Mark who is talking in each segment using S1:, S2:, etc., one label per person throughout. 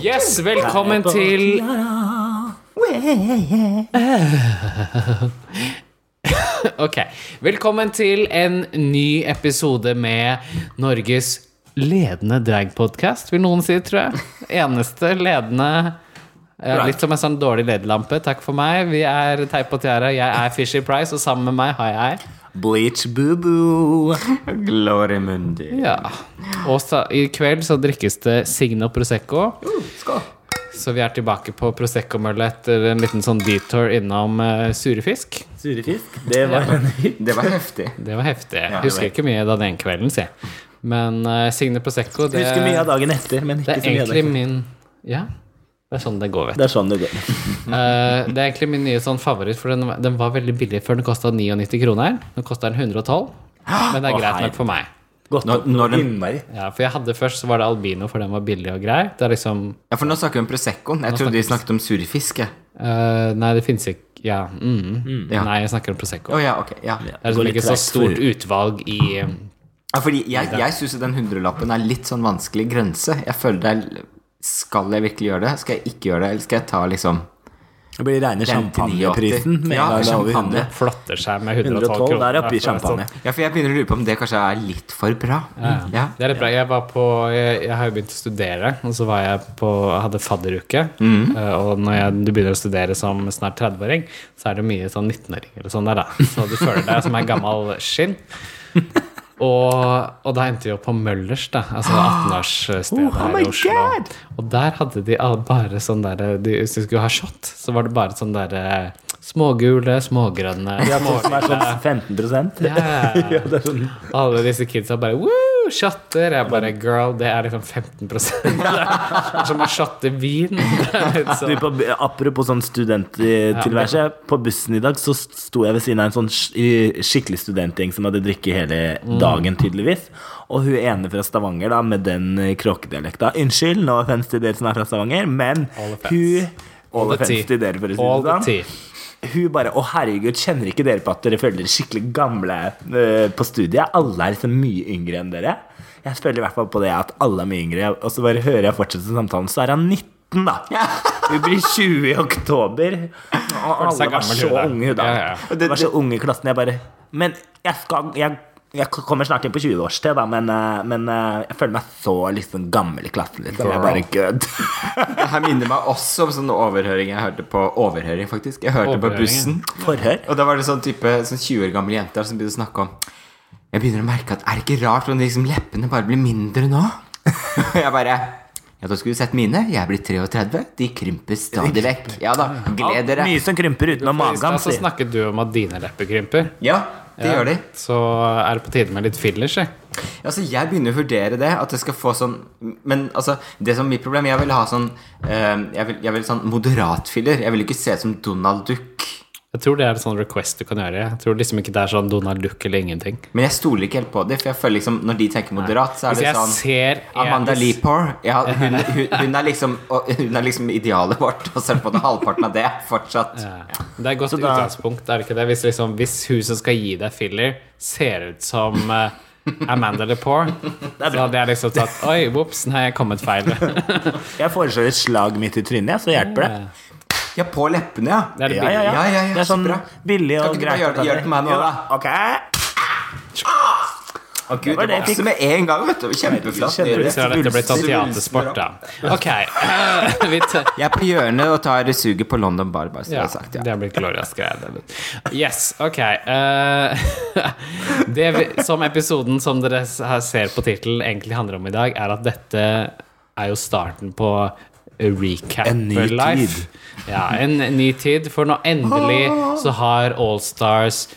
S1: Yes, velkommen til Ok. Velkommen til en ny episode med Norges ledende dragpodkast, vil noen si, tror jeg. Eneste ledende ja, Litt som en sånn dårlig ledelampe. Takk for meg. Vi er Teip og Tiara. Jeg er Fishy Price, og sammen med meg har jeg
S2: Bleach boo-boo. Glory mundi.
S1: Ja. Og sa- i kveld så drikkes det Signo Prosecco.
S2: Skål.
S1: Så vi er tilbake på Prosecco-mølle etter en liten sånn detour innom eh, surefisk.
S3: Surefisk. Det var en
S2: Det var heftig.
S1: Det var heftig. Jeg
S2: Ja,
S1: husker
S2: det
S1: ikke mye av den kvelden, sier jeg. Men eh, Signe Prosecco, det,
S3: Jeg husker mye av dagen etter, men
S1: det
S3: ikke
S1: er
S3: så mye av
S1: egentlig
S3: dagen etter.
S1: min Ja, det er sånn det går, vet du.
S3: Det er sånn det går.
S1: Eh, det er egentlig min nye sånn favoritt, for den, den var veldig billig før. Den kosta 99 kroner. Nå koster den 112, men det er
S3: Å,
S1: greit
S3: hei.
S1: nok for meg.
S3: Godt
S2: Når-
S3: opp
S2: når den-
S3: innmari.
S1: Ja, for jeg hadde først, så var det albino, for den var billig og grei. Det er liksom
S2: Ja, for nå snakker vi om Proseccoen. Jeg trodde de snakket om surfisk. jeg.
S1: eh, Nei, det finnes ikke Ja. Mm.
S2: Ja.
S1: Nei, jeg snakker om Prosecco.
S2: Å ja, ok. Ja.
S1: Det er
S3: går
S1: liksom
S3: litt
S1: ikke så
S3: tregt
S1: stort
S3: for-
S1: utvalg i
S2: ja fordi jeg, jeg syns den hundrelappen er litt sånn vanskelig grense. Jeg føler det er Skal jeg virkelig gjøre det? Skal jeg ikke gjøre det? Eller skal jeg ta liksom
S3: Det blir reine
S2: Den til 89.
S3: champagneprisen. med en
S2: Ja,
S3: gang det er over
S2: champagne.
S3: 100.
S1: Flotter seg med 112
S3: 112,
S1: kroner.
S3: der oppe i
S1: Ja, for-
S3: champagne.
S2: Ja, for jeg begynner å lure på om det kanskje er litt for bra. Ja.
S1: Det er litt bra. Jeg, var på, jeg, jeg har jo begynt å studere, og så var jeg på, jeg hadde fadderuke. Eh, Og når jeg, du begynner å studere som snart 30-åring, så er det mye sånn 19-åring eller sånn der, da. Så du føler deg som en gammel skinn. Og, og da endte vi opp på Møllers, da. Altså 18-årsstedet her i Oslo. Og der hadde de alle bare sånn derre de- Hvis de skulle ha shot, så var det bare sånn derre smågule, smågrønne
S3: Ja, sånn som er sånn 15
S1: Ja, ja, ja.
S3: Ja, det er sånn
S1: Alle disse kidsa bare Woo, shotter! Jeg bare Girl, det er liksom 15 Det er Som å shotte vin. Det er litt
S3: du,
S1: sånn.
S3: på, apropos sånn studenttilværelse. På bussen i dag så sto jeg ved siden av en sånn sk- skikkelig studentgjeng som hadde drikket hele
S1: Mm.
S3: dagen, tydeligvis. Og hun ene fra Stavanger, da, med den eh, kråkedialekta Unnskyld, no offense til dere som er fra Stavanger, men
S1: All offense.
S3: hun All
S1: the
S3: offense
S1: tea.
S3: til dere, for å si
S1: All
S3: det
S1: the
S3: sånn.
S1: tea.
S3: Hun bare Å, herregud, kjenner ikke dere på at dere føler dere skikkelig gamle eh, på studiet? Alle er liksom mye yngre enn dere. Jeg føler i hvert fall på det at alle er mye yngre. Og så bare hører jeg fortsette samtalen, så er han 19, da. Vi blir 20 i oktober. Og
S1: seg
S3: alle var
S1: gammel,
S3: så
S1: hun der.
S3: unge, da.
S1: Ja, ja.
S3: Og Det var så unge i klassen. Jeg bare Men jeg skal jeg, jeg kommer snart inn på 20 års til, da, men, eh, men eh, jeg føler meg så liksom gammel i klassen. Liksom. Jeg bare Good.
S2: Det her minner meg også om sånn overhøring jeg hørte på Overhøring, faktisk. Jeg hørte på
S1: Overhøring,
S2: bussen.
S3: Forhør.
S2: Og da var det sånn type sånn 20 år gamle jenter som begynte å snakke om Jeg begynner å merke at er det ikke rart om liksom leppene bare blir mindre nå? jeg bare Ja, da skulle du sett mine. Jeg blir 33. De krymper stadig vekk. Ja da, gled dere.
S3: Mye som krymper utenom
S1: I stad
S3: magen.
S1: så
S3: sier-
S1: snakket du om at dine lepper krymper.
S2: Ja, det gjør de.
S1: Så er det på tide med litt fillers, jeg.
S2: Altså, jeg begynner å vurdere det, at jeg skal få sånn Men altså, det som er mitt problem Jeg vil ha sånn eh, jeg, vil, jeg vil sånn moderat filler. Jeg vil ikke se ut som Donald Duck.
S1: Jeg tror det er en sånn request du kan gjøre. Jeg tror liksom ikke det er sånn Donald Duck eller ingenting.
S2: Men jeg stoler ikke helt på det, for jeg føler liksom når de tenker moderat, så er
S1: Hvis
S2: det
S1: jeg
S2: sånn
S1: ser en-
S2: Amanda Lepore. Ja, hun, hun, hun, er liksom, og hun er liksom idealet vårt, og så er det på en måte halvparten av det fortsatt.
S1: Ja. Det er et godt
S3: da-
S1: utgangspunkt, er det ikke det? Hvis, liksom, hvis hun som skal gi deg filler, ser ut som eh, Amanda Lepore, så hadde jeg liksom tatt Oi, vops, nei, jeg kommet feil. Eh, Det
S3: Jeg foreslår et slag midt i trynet, så hjelper det.
S2: Ja, på leppene, ja.
S1: er det
S3: Ja, ja, ja.
S2: Ja, ja, ja,
S3: det er sånn
S2: så bra.
S3: billig
S2: Kan
S3: og
S2: ikke du bare
S3: greit.
S2: gjøre det- gjøre det til meg nå,
S3: Jo,
S2: da?
S3: Ok.
S2: Å, Gud,
S3: var
S2: det
S3: det jeg
S2: vokser med en gang, vet du. Kjempeflatt.
S3: Kjempe-
S2: Nydelighet.
S1: Så har dette blitt sånn teatersport, da. Ok. vi tar-
S2: Jeg er på hjørnet og tar suget på London Bar, bare så
S1: Ja,
S2: det er sagt.
S1: det
S2: Ja.
S1: har blitt glorious greier. det er blitt. Yes, ok. eh, det vi, som episoden som dere s- her ser på tittelen egentlig handler om i dag, er at dette er jo starten på a recap
S3: En ny
S1: for life.
S3: tid.
S1: Ja, en ny tid. For nå endelig så har Allstars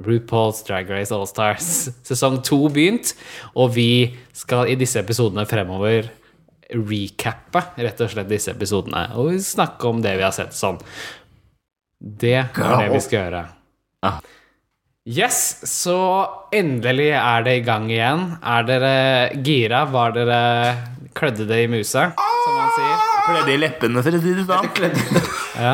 S1: RuPaul's Drag Race Allstars sesong to begynt, og vi skal i disse episodene fremover recappe rett og slett disse episodene og snakke om det vi har sett sånn. Det er det vi skal gjøre. Yes, så endelig er det i gang igjen. Er dere gira? Var dere klødde det i musa, som man sier?
S3: Klødde i leppene, for å si det sånn.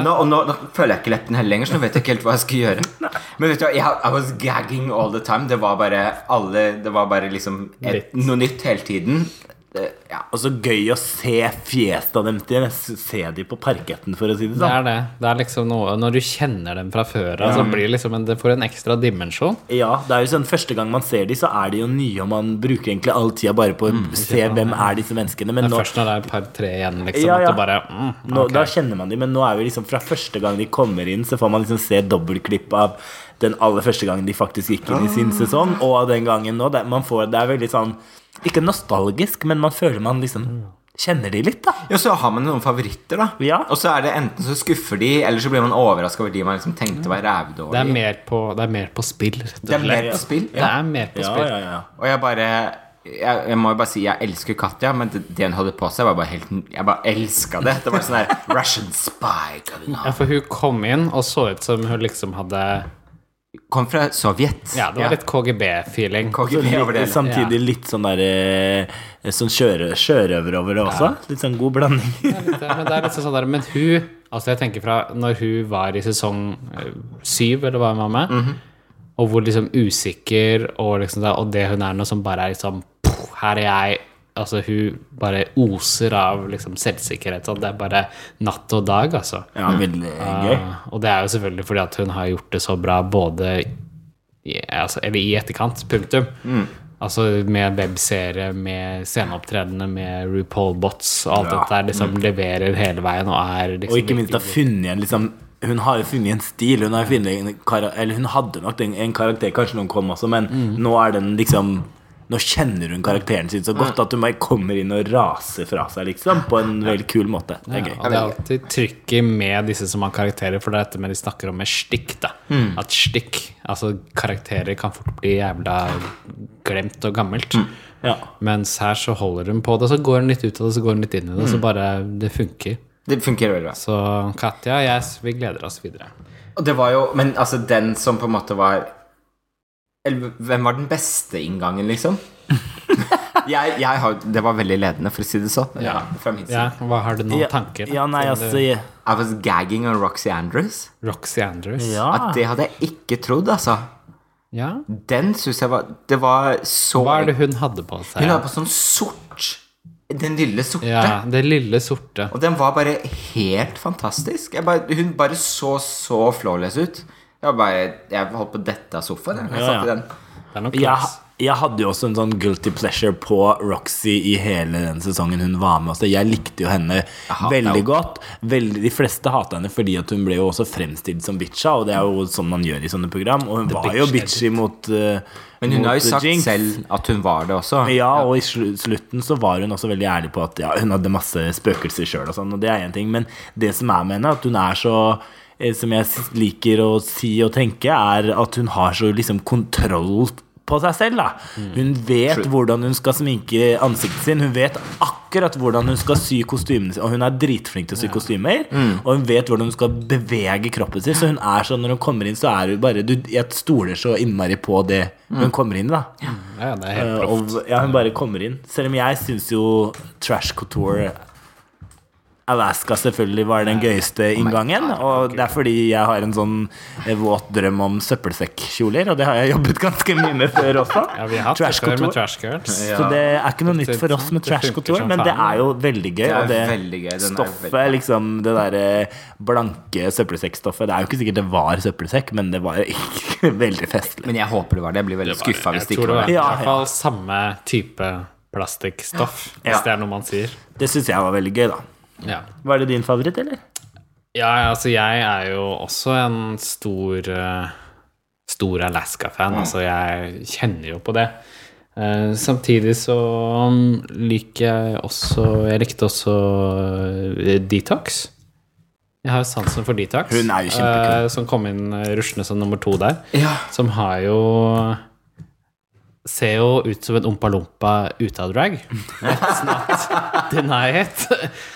S2: Nå, og nå, nå føler jeg ikke leppene heller lenger, så nå vet jeg ikke helt hva jeg skal gjøre. Men vet du hva, jeg, I was gagging all the time. Det var bare alle Det var bare liksom et,
S1: Litt.
S2: noe nytt hele tiden. Eh, Ja.
S3: Og så gøy å se fjesta dem til. Se de på parketten, for å si det
S1: Det
S3: sånn.
S1: er det. Det er liksom noe Når du kjenner dem fra før av, så blir det liksom en, det får en ekstra dimensjon.
S3: Ja, det er jo sånn Første gang man ser de, så er de jo nye, og man bruker egentlig all tida bare på å se hvem er disse menneskene. Men
S1: Det er
S3: nå,
S1: først når det er et par-tre igjen, liksom,
S3: Ja, ja.
S1: at du bare mm,
S3: nå,
S1: ok.
S3: da kjenner man de, men nå er vi liksom fra første gang de kommer inn, så får man liksom se dobbeltklipp av den aller første gangen de faktisk gikk inn i sin sesong, og av den gangen nå. Det, man får, det er veldig sånn Ikke nostalgisk, men man føler man liksom kjenner de litt, da.
S2: Ja, så har man noen favoritter, da.
S3: Ja.
S2: Og så er det enten så skuffer de, eller så blir man overraska over de man liksom tenkte var
S1: det, er
S2: rævdårlige.
S1: mer på, det er mer på spill, rett og
S2: Det er
S1: slett.
S2: mer på spill.
S1: Det er mer på
S3: Ja,
S1: spill.
S3: ja, ja.
S2: Og jeg bare jeg, jeg må jo bare si jeg elsker Katja, men det, det hun holdt på seg, var bare helt Jeg bare elska det. Det var sånn her Russian spy coming
S1: Ja,
S2: out.
S1: for hun kom inn og så ut som hun liksom hadde
S2: Kom fra Sovjet.
S1: Ja, det var litt liksom. KGB-feeling.
S2: KGB over det. hele.
S3: Samtidig litt sånn der eh, Sånn sjøre, sjørøver over det også. Litt sånn god blanding.
S1: Det- Men det er liksom sånn der Men hun Altså, jeg tenker fra når hun var i sesong eh, syv, eller hva hun var med, og hvor liksom usikker og liksom det, Og det hun er nå, som bare er liksom «Puh, Her er jeg. Altså, hun bare oser av liksom selvsikkerhet. Og det er bare natt og dag, altså.
S3: Ja, veldig gøy.
S1: Eh, Og det er jo selvfølgelig fordi at hun har gjort det så bra både i, altså, eller i etterkant, punktum.
S3: Mm.
S1: Altså med webserie, med sceneopptredener, med RuPaul Bots og alt
S3: Ja. Mm.
S1: dette der liksom leverer hele veien og er liksom
S3: Og ikke minst har funnet en liksom hun har jo funnet en stil. Hun, har jo funnet en kara eller hun hadde nok en, en karakter, kanskje noen kom også, men
S1: Mm.
S3: nå er den liksom Nå kjenner hun karakteren sin så godt at hun bare kommer inn og raser fra seg, liksom. På en veldig kul måte. Det er
S1: ja,
S3: gøy.
S1: og det er alltid trykket med disse som har karakterer, for det er dette med de snakker om med stikk, da.
S3: Mm.
S1: At stikk, altså karakterer kan fort bli jævla glemt og gammelt.
S3: Mm. Ja.
S1: Mens her så holder hun på det, så går hun litt ut av det, så går hun litt inn i det,
S3: Mm.
S1: så bare det funker.
S2: Det fungerer veldig bra.
S1: Så Katja, jeg, vi gleder oss videre.
S2: Og det var jo Men altså, den som på en måte var Eller hvem var den beste inngangen, liksom? jeg, jeg har, det var veldig ledende, for å si det sånn.
S1: Ja.
S2: Fra min side.
S1: Ja, hva Har du noen
S3: Ja,
S1: tanker?
S3: ja, nei,
S1: Siden
S3: altså ja.
S2: I was gagging on Roxy Andrews.
S1: du- Roxy Andrews?
S2: At det hadde jeg ikke trodd, altså.
S1: Ja.
S2: Den syns jeg var Det var så
S1: Hva er det hun hadde på seg?
S2: Hun hadde på sånn sort. Den lille sorte.
S1: ja, Det lille sorte.
S2: Og den var bare helt fantastisk. Jeg bare, hun bare så så flawless ut. Jeg, var bare, jeg holdt på å dette av sofaen. Jeg, jeg
S3: Ja,
S2: satt i
S3: ja.
S2: den.
S1: Det er nok
S3: Jeg,
S1: Roxy.
S3: jeg hadde jo også en sånn guilty pleasure på Roxy i hele den sesongen hun var med. Også. Jeg likte jo henne veldig godt. Veldig, de fleste hata henne fordi at hun ble jo også fremstilt som bitcha, og det er jo sånn man gjør i sånne program. Og hun var jo
S1: bitch
S3: bitchy mot eh,
S2: Men hun
S3: mot
S2: har jo sagt
S3: Jinx.
S2: selv at hun var det også.
S3: Ja, og i slu- slutten så var hun også veldig ærlig på at ja, hun hadde masse spøkelser sjøl og sånn, og det er én ting, men det som er med henne, at hun er så eh, Som jeg s- liker å si og tenke, er at hun har så liksom kontroll på seg selv, da. Hun vet hvordan hun skal sminke ansiktet sin, hun vet akkurat hvordan hun skal sy kostymene sine, og hun er dritflink til å sy kostymer, og hun vet hvordan hun skal bevege kroppen sin, så hun er sånn når hun kommer inn, så er hun bare du, Jeg stoler så innmari på det hun kommer inn, da.
S1: Ja, ja, det er helt
S3: Eh,
S1: proff.
S3: Og, ja, hun bare kommer inn. Selv om jeg syns jo Trash Couture Alaska selvfølgelig var den gøyeste inngangen. Og det er fordi jeg har en sånn eh, våt drøm om søppelsekkjoler, og det har jeg jobbet ganske mye med før også.
S1: Ja, vi har hatt
S3: Trash
S1: det før med
S3: Couture.
S1: Trash Girls.
S2: Eh,
S3: Så det er ikke noe nytt for oss med
S1: Det
S3: Trash
S1: funker
S3: Couture,
S1: som
S3: men
S1: faen.
S3: det er jo veldig gøy.
S2: Det er
S3: og det
S2: veldig gøy, den er
S3: Stoffet,
S2: veldig-
S3: liksom det derre blanke søppelsekkstoffet Det er jo ikke sikkert det var søppelsekk, men det var ikke veldig festlig.
S2: Men jeg håper det var det. Jeg blir veldig skuffa hvis det
S1: Jeg tror det var
S2: ikke var
S1: i
S2: det.
S3: Ja,
S1: hvert fall samme type plastikkstoff,
S3: Ja.
S1: hvis det er noe man sier.
S3: Det syns jeg var veldig gøy, da.
S1: Ja.
S3: Var det din favoritt, eller?
S1: Ja, altså jeg er jo også en stor eh, Stor
S3: Mm.
S1: Alaska-fan. Altså jeg kjenner jo på det. Eh, samtidig så mm, liker jeg også Jeg likte også eh, Detox. Jeg har jo sansen for Detox,
S3: Hun er jo kjempekul.
S1: eh, som kom inn eh, ruslende som nummer to der.
S2: Ja.
S1: Som har jo Ser jo ut som en ompa-lompa ute av drag. Let's not deny it.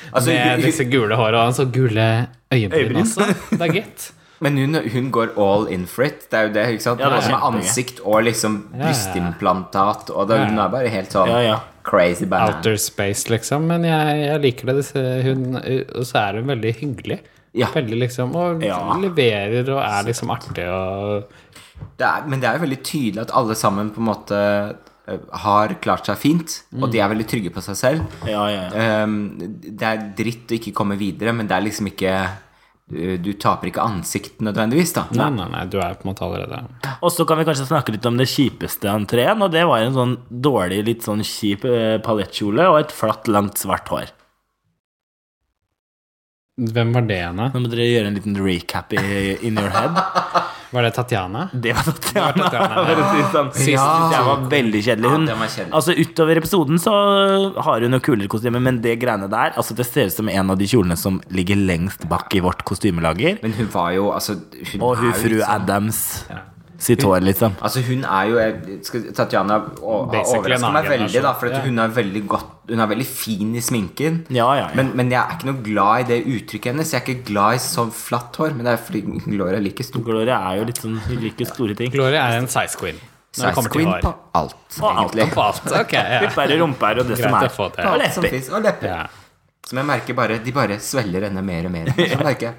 S2: Altså,
S1: Med
S2: hun-
S1: disse gule håra og så gule øyenbryn
S3: Øyebryn.
S1: også. Det er gitt.
S2: Men hun, hun går all in for it. Det er jo det, ikke sant?
S3: Ja, det er
S2: Både med
S3: kjempegøy.
S2: ansikt og liksom
S1: ja.
S2: brystimplantat. Og da,
S1: Ja, ja.
S2: hun er bare helt sånn
S3: Ja, ja.
S2: crazy banan.
S1: Outer space, liksom. Men jeg, jeg liker det. Disse, hun, og så er hun veldig hyggelig.
S2: Ja.
S1: Veldig liksom Og
S3: Ja.
S1: leverer og er liksom artig og
S2: Det er, men det er jo veldig tydelig at alle sammen på en måte eh, har klart seg fint,
S1: Mm.
S2: og de er veldig trygge på seg selv.
S3: Ja, ja, ja.
S2: Ehm, det er dritt å ikke komme videre, men det er liksom ikke eh, Du taper ikke ansikt nødvendigvis, da.
S1: Nei, nei, nei, du er på en måte allerede
S3: Og så kan vi kanskje snakke litt om det kjipeste entreen, og det var en sånn dårlig, litt sånn kjip eh, paljettkjole og et flatt, langt, svart hår.
S1: Hvem var det henne?
S3: Nå må dere gjøre en liten recap i, in your head.
S1: Var det Tatjana?
S3: Det var Tatjana.
S1: Det var Tatjana, ja.
S3: for å si det sånn.
S2: Sist- Ja.
S3: Det var veldig kjedelig. Hun,
S2: Ja, den var kjedelig.
S3: altså Utover episoden så har hun noe kulere kostyme, men det greiene der altså Det ser ut som en av de kjolene som ligger lengst bak i vårt kostymelager.
S2: Men hun var jo altså hun
S3: Og hun
S2: er jo
S3: fru
S2: liksom-
S3: Adams sitt hår, liksom.
S2: Altså hun er jo jeg skal- Tatjana
S1: Basically
S2: overrasker
S1: en
S2: meg
S1: annen
S2: veldig, da,
S1: generasjon.
S2: for at
S1: Ja.
S2: hun er veldig godt Hun er veldig fin i sminken.
S3: Ja, ja, ja.
S2: Men, men jeg er ikke noe glad i det uttrykket hennes. Jeg er ikke glad i sånn flatt hår, men det er fordi Gloria liker stor
S3: Gloria er jo litt sånn Hun liker store ting.
S1: Gloria er en size queen Når det
S2: size
S1: kommer til
S2: queen
S1: hår
S2: på alt,
S3: Og alt,
S2: egentlig.
S1: På alt, ok ja.
S3: Pupper og rumper og det som
S1: Greit
S3: er.
S1: å få til.
S3: Og
S2: Som
S3: lepper.
S2: fins. Og lepper.
S1: Ja.
S2: Som jeg merker bare De bare svelger henne mer og mer. Så merker jeg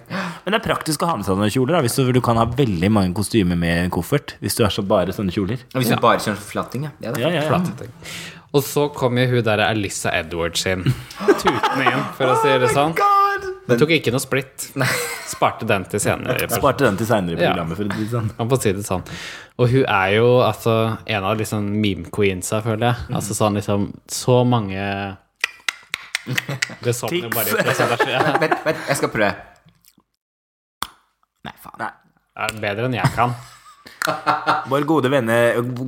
S3: Men det er praktisk å ha med seg noen kjoler da, hvis du, du kan ha veldig mange kostymer med en koffert. Hvis du er så bare sånne kjoler.
S2: Og Hvis hun bare kjører forflatting, ja. Det er det.
S3: Ja, ja, ja.
S1: Ting. Og så kom jo hun der Alyssa Edwards inn Tutene inn, for å si
S2: Oh
S1: det sånn Hun tok ikke noe splitt Sparte den til senere
S3: Sparte den til seinere i
S1: Ja.
S3: programmet. For å si det sånn.
S1: Man får si det sånn. Og hun er jo altså, en av liksom meme-queensa, føler jeg. Altså sånn liksom Så mange Det sånn jo bare fra seg der, ja.
S2: Vent, vent, jeg skal prøve. Nei, faen.
S1: Er bedre enn jeg kan.
S3: Vår gode, venne,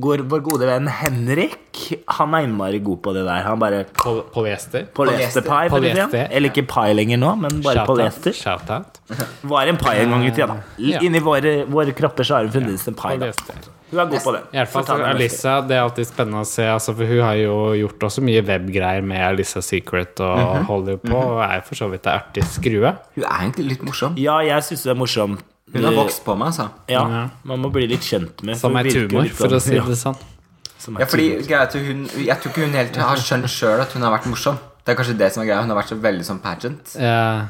S3: vår, vår gode venn Henrik Han er innmari god på det der. Han bare
S1: Pol polyester.
S3: Polyesterpai. for å si det.
S1: Polyester.
S3: Eller ikke pai lenger nå, men bare
S1: Shout-out.
S3: polyester.
S1: Shout-out.
S3: Var en pai en gang i tida, da.
S1: Ja.
S3: Inni våre, våre kropper så har hun fremdeles en pai. Da.
S1: Polyester.
S3: Hun er god på det.
S1: I hvert fall
S3: Fortell
S1: for
S3: meg mer.
S1: Alissa, det er alltid spennende å se. Altså, for hun har jo gjort også mye webgreier med Alissa Secret og
S3: Mhm.
S1: holder jo på, og er for så vidt ei artig skrue.
S2: Hun er egentlig litt morsom.
S3: Ja, jeg syns det er morsomt.
S2: Hun har vokst på meg, altså.
S3: Ja,
S1: Ja.
S3: man må bli litt kjent med
S1: Som
S3: hun
S1: er
S3: virker
S1: tumor,
S3: litt
S1: for
S3: sånn-
S1: å si
S3: ja,
S1: det sånn.
S3: som er
S2: Ja, fordi
S3: tumor.
S2: greia er at hun, Jeg tror ikke hun helt har skjønt sjøl at hun har vært morsom. Det er kanskje det som er greia. Hun har vært så veldig sånn pageant.
S1: Eh,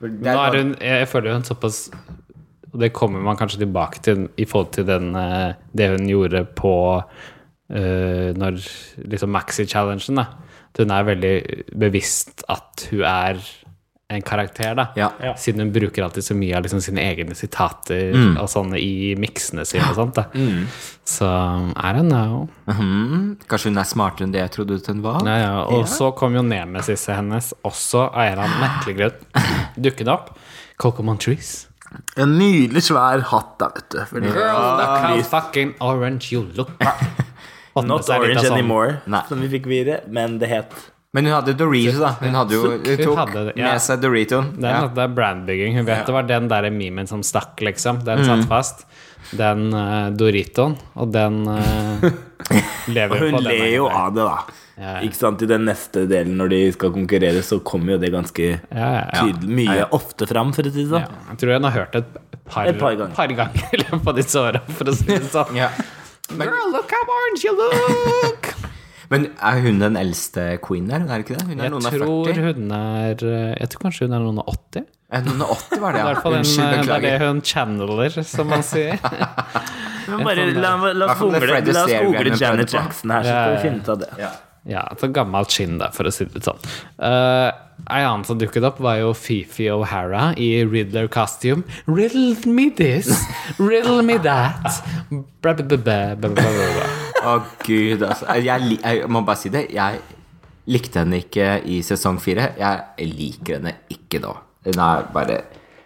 S2: Det
S1: Nå er
S2: bare-
S1: hun, jeg føler hun såpass Og det kommer man kanskje tilbake til i forhold til den, eh, det hun gjorde på eh, Når liksom maxi-challengen, da. At hun er veldig bevisst at hun er en karakter, da.
S2: Ja.
S3: Ja.
S1: Siden hun bruker alltid så mye av liksom sine egne sitater og sånne i miksene sine og sånt. da Så I don't know.
S2: Mhm. Kanskje hun er smartere enn det jeg trodde hun var?
S1: Ja, ja. Og så kom jo nemesisset hennes også av en eller annen merkelig grunn dukkende opp. Cocomon Trees.
S3: En nydelig svær hatt, da, vet du. Fordi-
S1: Girl, look how fucking orange you look. Fått med
S3: Not
S1: seg litt
S3: orange
S1: av sånn-
S3: anymore,
S2: Nei.
S3: som vi fikk vite, men det het
S2: Men hun hadde Doritos, da. Hun hadde jo, hun
S1: Hun
S2: tok
S1: hadde det, ja.
S2: med seg Doritoen.
S1: Det er,
S2: Ja.
S1: noe- det er brandbygging. Hun vet det var den der memen som stakk, liksom. Den
S3: Mm.
S1: satt fast. Den eh, Doritoen, og den eh, lever
S3: Hun
S1: på den.
S3: ler jo
S1: ene.
S3: av det, da.
S1: Ja, ja.
S3: Ikke sant, I den neste delen, når de skal konkurrere, så kommer jo det ganske
S1: Ja, ja, ja.
S3: tydelig, mye ofte fram, for å si det sånn.
S1: Ja, jeg tror hun har hørt det et par,
S3: Et par ganger.
S1: ganger i løpet av disse åra, for å si det sånn.
S2: Ja.
S1: Girl, look how orange you look!
S2: Men er hun den eldste queen her? Hun er ikke det? Hun er
S1: Jeg
S2: noen og
S1: tror
S2: 40?
S1: hun er eh, Jeg tror kanskje hun er noen og 80.
S2: Eh, Noen og 80 var det,
S1: I
S2: ja.
S1: hvert fall den, eh,
S2: Unnskyld,
S1: det er det
S2: beklager.
S1: hun channeler, som man sier.
S3: Men Bare, la, la oss
S2: Hvertfall det Fred
S3: google, la oss
S2: Astaire-greiene
S3: google
S2: hun
S3: Janet
S2: prøvde på.
S3: Jackson her, så
S1: Ja,
S3: skal
S1: ja,
S3: vi finne ut av det.
S2: Ja.
S1: Ja, så gammelt skinn, da, for å si det sånn. Uh, Ei annen som dukket opp, var jo Fifi O'Hara i Riddler costume. Riddle me this, riddle me that. Bra, bra, bra, bra, bra, bra, bra.
S2: Å gud, altså. Jeg, li- jeg må bare si det. Jeg likte henne ikke i sesong fire. Jeg liker henne ikke nå. Hun er bare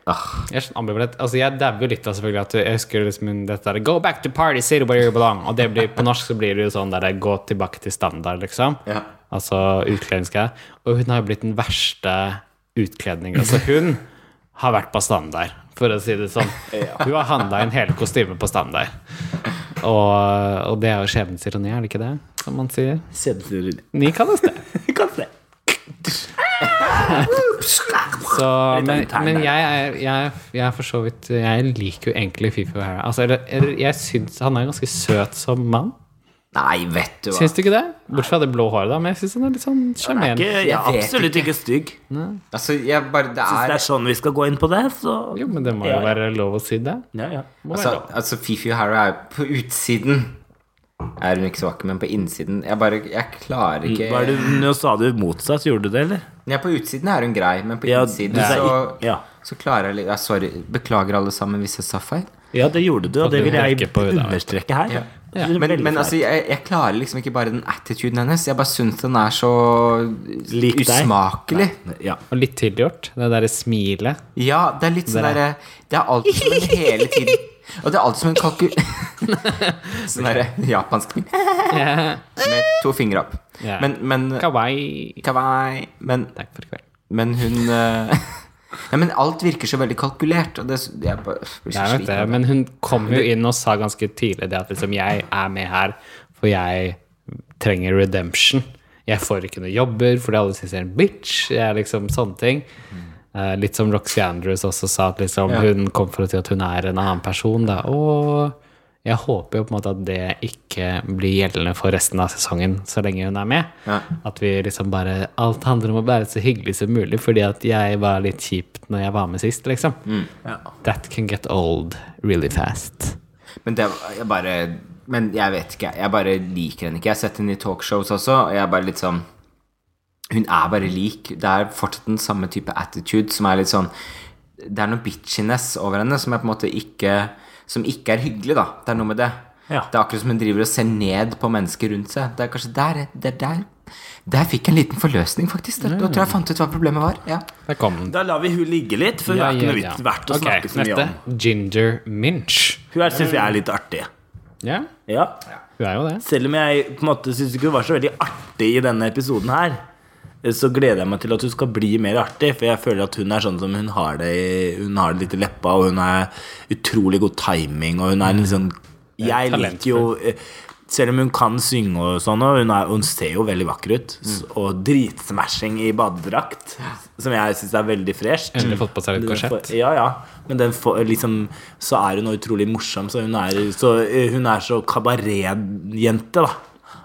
S2: ah.
S1: Jeg er sånn ambivalent. Altså, jeg dauer jo litt av selvfølgelig at jeg husker liksom hun- dette der, Go back to party, city where you belong. Og det blir, på norsk så blir det jo sånn der gå tilbake til standard, liksom.
S2: Ja.
S1: Altså utkledningsgreie. Og hun har jo blitt den verste utkledninga. Altså hun har vært på standard, for å si det sånn. Hun har handla inn hele kostymet på standard. Og, og det er jo skjebnens ironi, er det ikke det? Som man sier.
S3: Kjeder
S1: Ni kalles det.
S3: Kan se.
S1: Så,
S3: Litt
S1: men
S3: intern
S1: men
S3: der.
S1: jeg, er, jeg, jeg er for så vidt Jeg liker jo egentlig Fifi O'Hara. Altså, eller, eller, jeg syns han er ganske søt som mann.
S2: Nei, vet du hva.
S1: Syns du ikke det? Bortsett fra det blå håret, da. Men jeg syns han er litt sånn sjarmerende.
S3: Ikke, jeg er
S2: Jeg vet
S3: absolutt ikke stygg.
S2: Altså, jeg bare Det
S3: Hvis det
S2: er
S3: er sånn vi skal gå inn på det, så
S1: Jo, men det må jo
S3: Ja.
S1: være lov å si det.
S3: ja, ja.
S1: Må være
S2: Altså,
S1: lov.
S2: altså Fifi O'Hara er på utsiden er hun ikke så vakker, men på innsiden Jeg bare, jeg klarer
S3: Mm,
S2: ikke
S3: Hva er det, nå sa du motsatt, gjorde du det, eller?
S2: Ja, på utsiden er hun grei, men på
S3: Ja,
S2: innsiden
S3: du sa
S2: så,
S3: i- ja.
S2: så klarer jeg litt ja, Sorry. Beklager, alle sammen, hvis jeg sa feil.
S3: Ja, det gjorde du, og det vil jeg
S1: Ikke på det, da.
S3: understreke her.
S2: Ja.
S3: Det er
S2: Men,
S3: veldig
S2: men
S3: flaut.
S2: altså, jeg, jeg klarer liksom ikke bare den attituden hennes. Jeg bare syns den er så
S3: Lik deg.
S2: usmakelig.
S3: ja.
S1: Og litt tilgjort. Det derre smilet.
S2: Ja, det er litt sånn
S1: Der.
S2: derre Det er alt som en hele tiden Og det er alt som en kalkul... sånn derre japansk min. Med to fingre opp.
S1: Ja.
S2: Men, men
S1: Kawaii.
S2: Kawaii. Men,
S1: Takk for i kveld.
S2: men hun eh, Nei, men alt virker så veldig kalkulert, og det jeg bare blir så
S1: Jeg vet det,
S2: sliten.
S1: men hun kom jo inn og sa ganske tidlig det at liksom, jeg er med her, for jeg trenger redemption. Jeg får ikke noen jobber fordi alle synes jeg er en bitch. Jeg er liksom sånne ting. Eh, litt som Roxy Andrews også sa, at liksom, hun kom for å si at hun er en annen person. Da. Og jeg håper jo på en måte at det ikke blir gjeldende for resten av sesongen så lenge hun er med.
S2: Ja.
S1: At vi liksom bare Alt handler om å være så hyggelig som mulig, fordi at jeg var litt kjipt når jeg var med sist, liksom.
S2: Mm.
S1: That can get old really fast.
S2: Men det var- jeg bare Men jeg vet ikke. Jeg bare liker henne ikke. Jeg har sett henne i talkshows også, og jeg er bare litt sånn Hun er bare lik. Det er fortsatt den samme type attitude som er litt sånn Det er noe bitchiness over henne som jeg på en måte ikke Som ikke er hyggelig, da. Det er noe med det.
S3: Ja.
S2: Det er akkurat som hun driver og ser ned på mennesker rundt seg. Det er kanskje der Der, der, der fikk jeg en liten forløsning, faktisk. Da da tror jeg jeg fant ut hva problemet var. Ja.
S1: Der kom den.
S3: Da lar vi hun ligge litt, for hun er ikke noe vits verdt å
S1: Ok,
S3: snakke så mye
S1: neste.
S3: om.
S1: Ginger Minch.
S3: Hun her syns jeg er litt artig.
S1: Ja,
S3: Ja.
S1: hun er jo det.
S3: Selv om jeg på en måte syns ikke hun var så veldig artig i denne episoden her, så gleder jeg meg til at hun skal bli mer artig, for jeg føler at hun er sånn som hun har det i- Hun har det litt i leppa, og hun er utrolig god timing, og hun er en sånn Jeg liker jo eh, selv om hun kan synge og sånn, og hun, er, hun ser jo veldig vakker ut, s- og dritsmashing i badedrakt, som jeg syns er veldig fresht.
S1: Endelig fått på seg
S3: Mm.
S1: litt
S3: Den
S1: korsett.
S3: får- Ja, ja. Men den får, liksom, så er hun utrolig morsom. Så hun er så, eh, hun er så kabaretjente, da.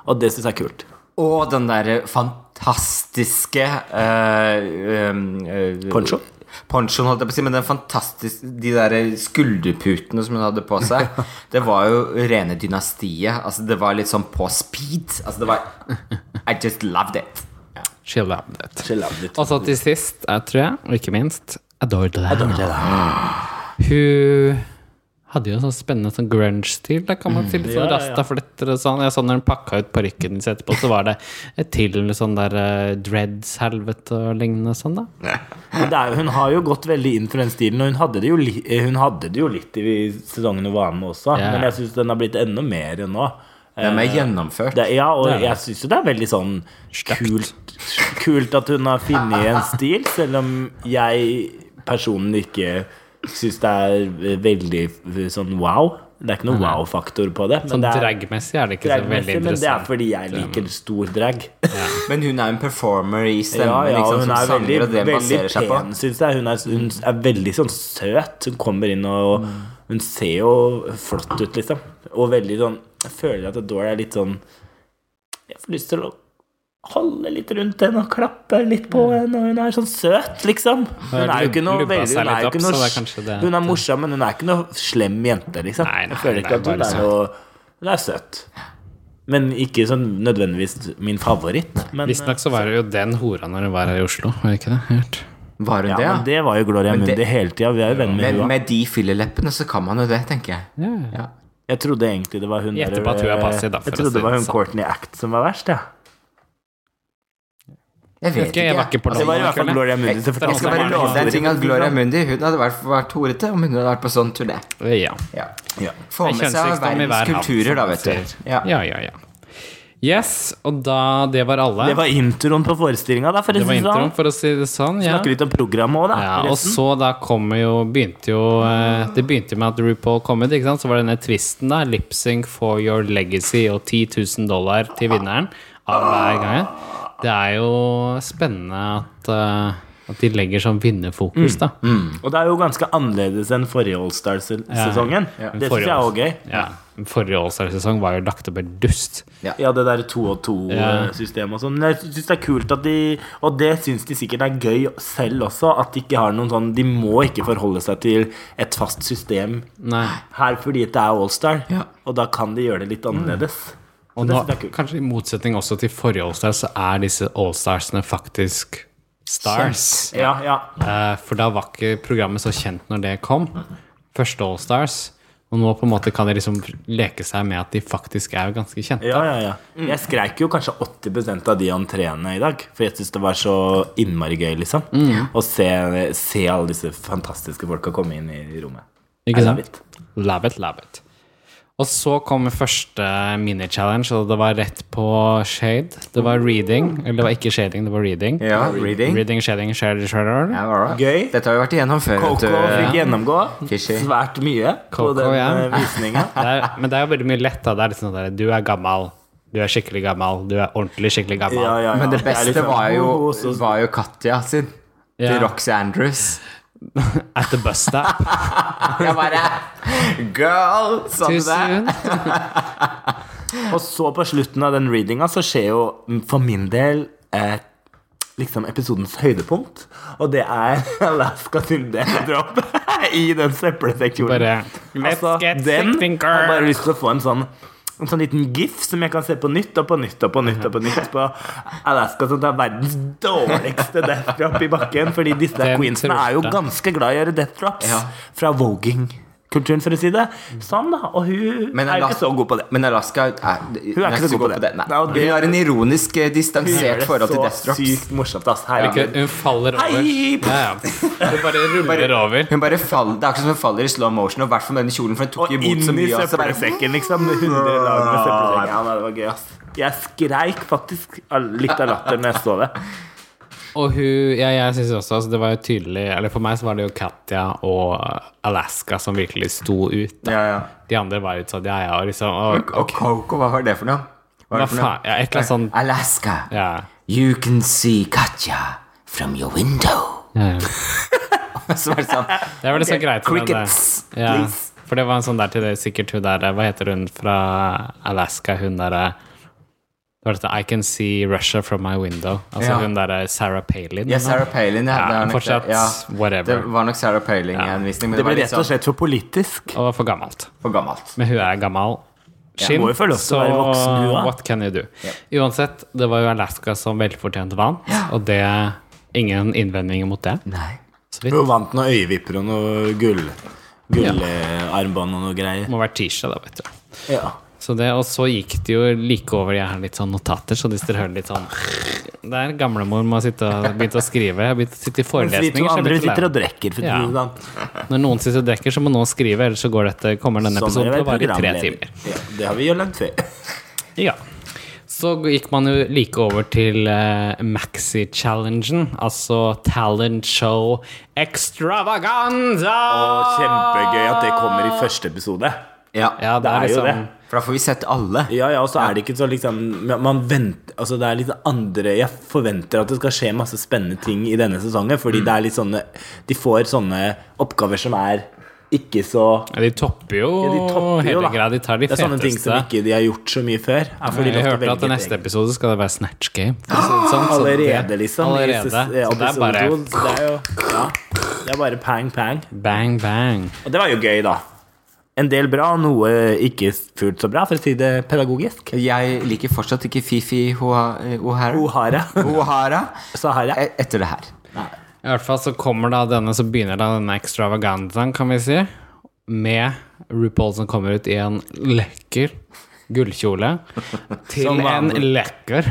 S3: Og det syns jeg er kult.
S2: Og den der fantastiske eh, um, eh,
S3: Poncho?
S2: Ponchoen, holdt jeg på å si, men den fantastiske De der skulderputene som hun hadde på seg, det var jo rene dynastiet. Altså, det var litt sånn på speed. Altså, det var I just loved it.
S1: She loved it.
S3: Chill out litt.
S1: Og så Altså, til sist, jeg tror jeg, og ikke minst, Adored Lana. Hun hadde jo en sånn spennende sånn grunge-stil. Da kan man si litt sånn
S3: Ja, ja, ja.
S1: rastafletter og sånn. Jeg så når hun pakka ut parykken sin etterpå, så var det et til sånn der eh, dreads-helvete og lignende sånn, da.
S3: Men det er, jo- hun har jo gått veldig inn for den stilen, og hun hadde det jo, li, eh, hun hadde det jo litt i sesongen hun var med også.
S1: Ja.
S3: Men jeg syns den har blitt enda mer nå.
S2: Den
S3: Eh,
S2: er mer gjennomført.
S3: det, ja, og
S1: Det er det.
S3: jeg syns jo det er veldig sånn kult, kult at hun har funnet en stil, selv om jeg personlig ikke syns det er veldig sånn wow. Det er ikke noe wow-faktor på det. Men
S1: Sånn
S3: det er,
S1: dragmessig er det ikke så
S3: dragmessig,
S1: veldig
S3: men det er
S1: interessant.
S3: fordi jeg liker stor drag.
S2: Men hun er en performer i stemmen,
S3: Ja, ja,
S2: liksom,
S3: hun
S2: som
S3: er veldig,
S2: sanger, og det hun
S3: veldig
S2: baserer seg på.
S3: pen, syns jeg. Hun er, hun er veldig sånn søt. Hun kommer inn og Hun ser jo flott ut, liksom. Og veldig sånn Jeg føler at Adore er litt sånn Jeg får lyst til å holde litt rundt henne og klappe litt på henne, og hun er sånn søt, liksom. Hun er jo ikke noe
S1: Mm. Lubba
S3: veldig
S1: seg
S3: Hun er, jo ikke
S1: litt opp,
S3: noe,
S1: så det er kanskje det
S3: hun er morsom, men hun er ikke noe slem jente, liksom.
S1: Nei, nei,
S3: jeg føler
S1: hun
S3: ikke
S1: er
S3: at hun
S1: bare
S3: er noe Hun er søt. Men ikke sånn nødvendigvis min favoritt. Men,
S1: Visstnok så var det jo den hora når hun var her i Oslo, var det ikke det? Helt.
S2: Var hun
S3: Ja,
S2: det,
S3: men det var jo Gloria Mundi
S2: det-
S3: hele tida. Vi er jo venner med
S2: Med,
S3: henne.
S2: med de fylleleppene så kan man jo det, tenker jeg. Ja.
S3: Jeg trodde egentlig det var hun eh,
S1: Gjette på at hun er passiv, da, for
S3: Jeg
S1: å si
S3: trodde det var
S1: det
S3: hun
S1: sånn.
S3: Courtney Act som var verst, ja.
S2: Jeg vet
S1: Ok, jeg var ikke på
S3: Altså, Det var i hvert fall
S1: Kvelden.
S3: Gloria Mundi som
S1: er
S2: Jeg skal
S1: Også
S2: bare
S1: Marlene
S2: love deg en ting at Gloria
S3: Mundi
S2: Mundi Hun hadde vært, vært horete om hun hadde vært på sånn turné.
S1: Ja.
S2: Ja.
S3: ja.
S2: Få med seg
S1: Kjønnssykdom i hver
S2: verdens
S1: hand,
S2: kulturer, da,
S1: som
S2: vet
S1: man
S2: du.
S1: sier.
S2: Ja.
S1: ja, ja, ja. Yes, og da Det var alle.
S3: Det var introen på forestillinga, da, for å
S1: Det var
S3: si det sånn.
S1: introen, for å si det sånn. Ja.
S3: Snakke litt om programmet òg, da.
S1: Ja, og
S3: forresten.
S1: så da kommer jo Begynte jo eh, Det begynte med at RuPaul kom ut, ikke sant? Så var det denne tvisten, da. Lipsync for your legacy og 10 000 dollar til vinneren av hver gang. Det er jo spennende at eh, at de legger sånn
S2: Mm.
S1: vinnerfokus, da.
S3: og det er jo ganske annerledes enn forrige Allstar-sesongen. Det syns
S1: Forrige
S3: jeg er også gøy.
S1: All- Ja. Forrige Allstar-sesong var jo lagt opp et dust.
S3: Ja, det der to og to-systemet og sånn. Men jeg syns det er kult at de Og det syns de sikkert er gøy selv også, at de ikke har noen sånn De må ikke forholde seg til et fast system
S1: Nei.
S3: her fordi det er Allstar.
S2: Ja.
S3: Og da kan de gjøre det litt annerledes.
S1: Og nå,
S3: det er kult.
S1: kanskje i motsetning også til forrige Allstars, så er disse Allstarsene faktisk stars.
S3: Ja, ja.
S1: Eh, for da var ikke programmet så kjent når det kom. Første Allstars. Og nå på en måte kan de liksom leke seg med at de faktisk er ganske kjente.
S3: Ja, ja, ja. Jeg skreik jo kanskje 80 av de entreene i dag. For jeg syns det var så innmari gøy, liksom.
S1: Mm.
S3: Å se, se alle disse fantastiske folka komme inn i rommet.
S1: Ikke
S3: I love
S1: sant? Love it, love it. Og så kom første mini-challenge, og det var rett på shade. Det var reading. Eller det var ikke shading, det var reading.
S2: Ja, reading.
S1: Reading, shading, shade, shade.
S2: Ja, alright.
S3: Gøy.
S2: Dette har vi vært igjennom før.
S3: Coco
S2: vet
S3: fikk
S2: du.
S3: gjennomgå
S2: Fishy.
S3: svært mye på
S1: Coco,
S3: den
S1: ja.
S3: eh, visningen
S1: Det er, men det er jo veldig mye lett. da. Det er litt sånn der, Du er gammal. Du er skikkelig gammal. Du er ordentlig skikkelig gammal.
S3: Ja, ja, ja.
S2: Men det
S3: er
S2: beste
S3: liksom-
S2: var
S3: Oh,
S2: jo,
S3: så-
S2: var jo Katja sin. Til
S1: Ja.
S2: Roxy Andrews.
S1: At the bus stop.
S2: Jeg bare Girl! Sa du
S1: Too
S2: det?
S1: soon.
S3: Og så på slutten av den readinga så skjer jo mm, for min del eh, liksom episodens høydepunkt. Og det er Alaska sin death-drop i den søppelsekkjolen.
S1: Bare Let's
S2: Altså,
S1: get
S3: Altså, den
S1: sick, thinker.
S3: har bare lyst til å få en sånn en sånn liten gif som jeg kan se på nytt og på nytt og på nytt og på nytt på Alaska som tar verdens dårligste death drop i bakken. Fordi disse
S1: Den
S3: queensene er jo
S1: trøtte.
S3: ganske glad i å gjøre death drops
S2: Ja.
S3: fra voging-kulturen, for å si det sånn. da Og hun
S2: Men
S3: er jo
S2: Alas-
S3: ikke så god på det.
S2: Men Alaska er,
S3: Hun er ikke så god på det.
S2: Nei.
S3: Nei, og det-
S2: Hun har en ironisk, eh,
S3: Hun gjør
S2: distansert
S3: det
S2: forhold til
S3: så
S2: Death Drops.
S3: Sykt morsomt, ass. Herregud.
S1: Hun faller over.
S3: Hei!
S1: Ja, ja. Hun bare ruller over.
S2: Hun bare faller, det er akkurat som hun faller i slow motion, og i hvert fall med den kjolen, for hun tok
S3: Og inn
S2: imot så
S3: i
S2: mye. Ah, Og så bare,
S3: søppelsekken, liksom. Med 100 lag med søppelsekken. Ja, nei, det var gøy, ass. Jeg skreik faktisk av- litt av latter når jeg så det.
S1: Og hun ja, jeg synes også altså, Det var jo tydelig Eller for meg så var det jo Katja og Alaska som virkelig sto ut. Da.
S2: ja, ja.
S1: De andre var jo sånn Ja, ja, og liksom og,
S2: Og Coco, hva var det for noe?
S1: Hva
S2: Hva var det for noe?
S1: faen? Ja, et eller annet sånn
S2: Alaska,
S1: Ja.
S2: you can see Katja from your window.
S1: ja, ja.
S2: Så var det sånn
S1: Det var liksom greit. men det-
S2: Crickets,
S1: ja.
S2: please.
S1: For det var en sånn der til det, sikkert hun der Hva heter hun fra Alaska? Hun derre Hva heter det? I can see Russia from my window. Altså
S2: Ja.
S1: hun derre Sarah Palin. eller
S2: Ja,
S1: noe?
S2: Sarah Palin. Ja,
S1: Ja,
S2: det, er nok
S1: fortsatt,
S2: det. ja,
S1: whatever.
S2: det var nok Sarah Palin-henvisning, men
S3: Det
S2: det,
S3: ble
S2: var litt
S3: rett og
S2: sånn
S3: slett for politisk.
S1: Og var for gammelt.
S2: for gammelt.
S1: Men hun er gammel. Skinn,
S3: må jo få lov til å
S1: så
S3: være voksen, hun, da.
S1: what can you do? Uansett, det var jo Alaska som velfortjent vant, og det Ingen innvendinger mot det.
S2: Nei.
S3: Hun vant noen øyevipper og noe gull. Gullarmbånd og noe
S1: Det
S3: greier.
S1: må være tirsdag, da, vet du.
S3: Ja.
S1: Så det, og så gikk det jo like over. Jeg har litt sånn notater, så hvis dere hører litt sånn Der gamlemor må sitte og begynne å skrive. Jeg begynte å
S3: Mens vi
S1: sitte i
S3: to
S1: forelesninger. så jeg
S3: andre
S1: blir så lei
S3: sitter og
S1: meg.
S3: drikker. For
S1: Ja.
S3: ja. sånn.
S1: Når noen sitter og drikker, så må noen skrive, ellers så går dette, kommer denne
S3: Sånn
S1: episoden
S3: er
S1: til
S3: det
S1: å vare i tre
S3: programleder.
S1: timer.
S3: Ja, det har vi jo langt før.
S1: Ja. Så gikk man jo like over til eh, maxi-challengen, altså talent show extravaganza!
S3: Og kjempegøy at det kommer i første episode.
S2: Ja.
S1: Ja, det,
S3: Det
S1: er,
S3: er jo
S1: liksom,
S3: det.
S2: For da får vi sett alle.
S3: Ja, ja, og så er det ikke så liksom Man venter Altså, det er litt andre Jeg forventer at det skal skje masse spennende ting i denne sesongen, fordi
S1: Mm.
S3: det er litt sånne De får sånne oppgaver som er ikke så
S1: Ja, De topper jo
S3: ja, de topper jo,
S1: hele
S3: da.
S1: greia. De tar de
S3: det er sånne ting som
S1: feteste.
S3: ikke de har gjort så mye før. Er fordi de
S1: Jeg
S3: ofte
S1: hørte at
S3: velger
S1: i neste
S3: ting.
S1: episode skal det være Snatch Game. for å si det sånn, så det-
S3: Allerede, liksom. i
S1: Allerede.
S3: ses-
S1: Så
S3: ja,
S1: det er
S3: episode
S1: bare
S3: to, så det er jo ja, Det er bare pang, pang.
S1: bang, bang.
S3: Og det var jo gøy, da. En del bra, noe ikke fullt så bra, for å si det pedagogisk.
S2: Jeg liker fortsatt ikke Fifi O'Ha- O'Hara.
S3: Ohara.
S2: O'Hara
S3: Sahara.
S2: e- etter det her.
S1: I hvert fall så kommer da denne, så begynner da denne ekstravaganzaen, kan vi si, med RuPaul som kommer ut i en lekker gullkjole til
S3: Som
S1: en
S3: vanlig.
S1: lekker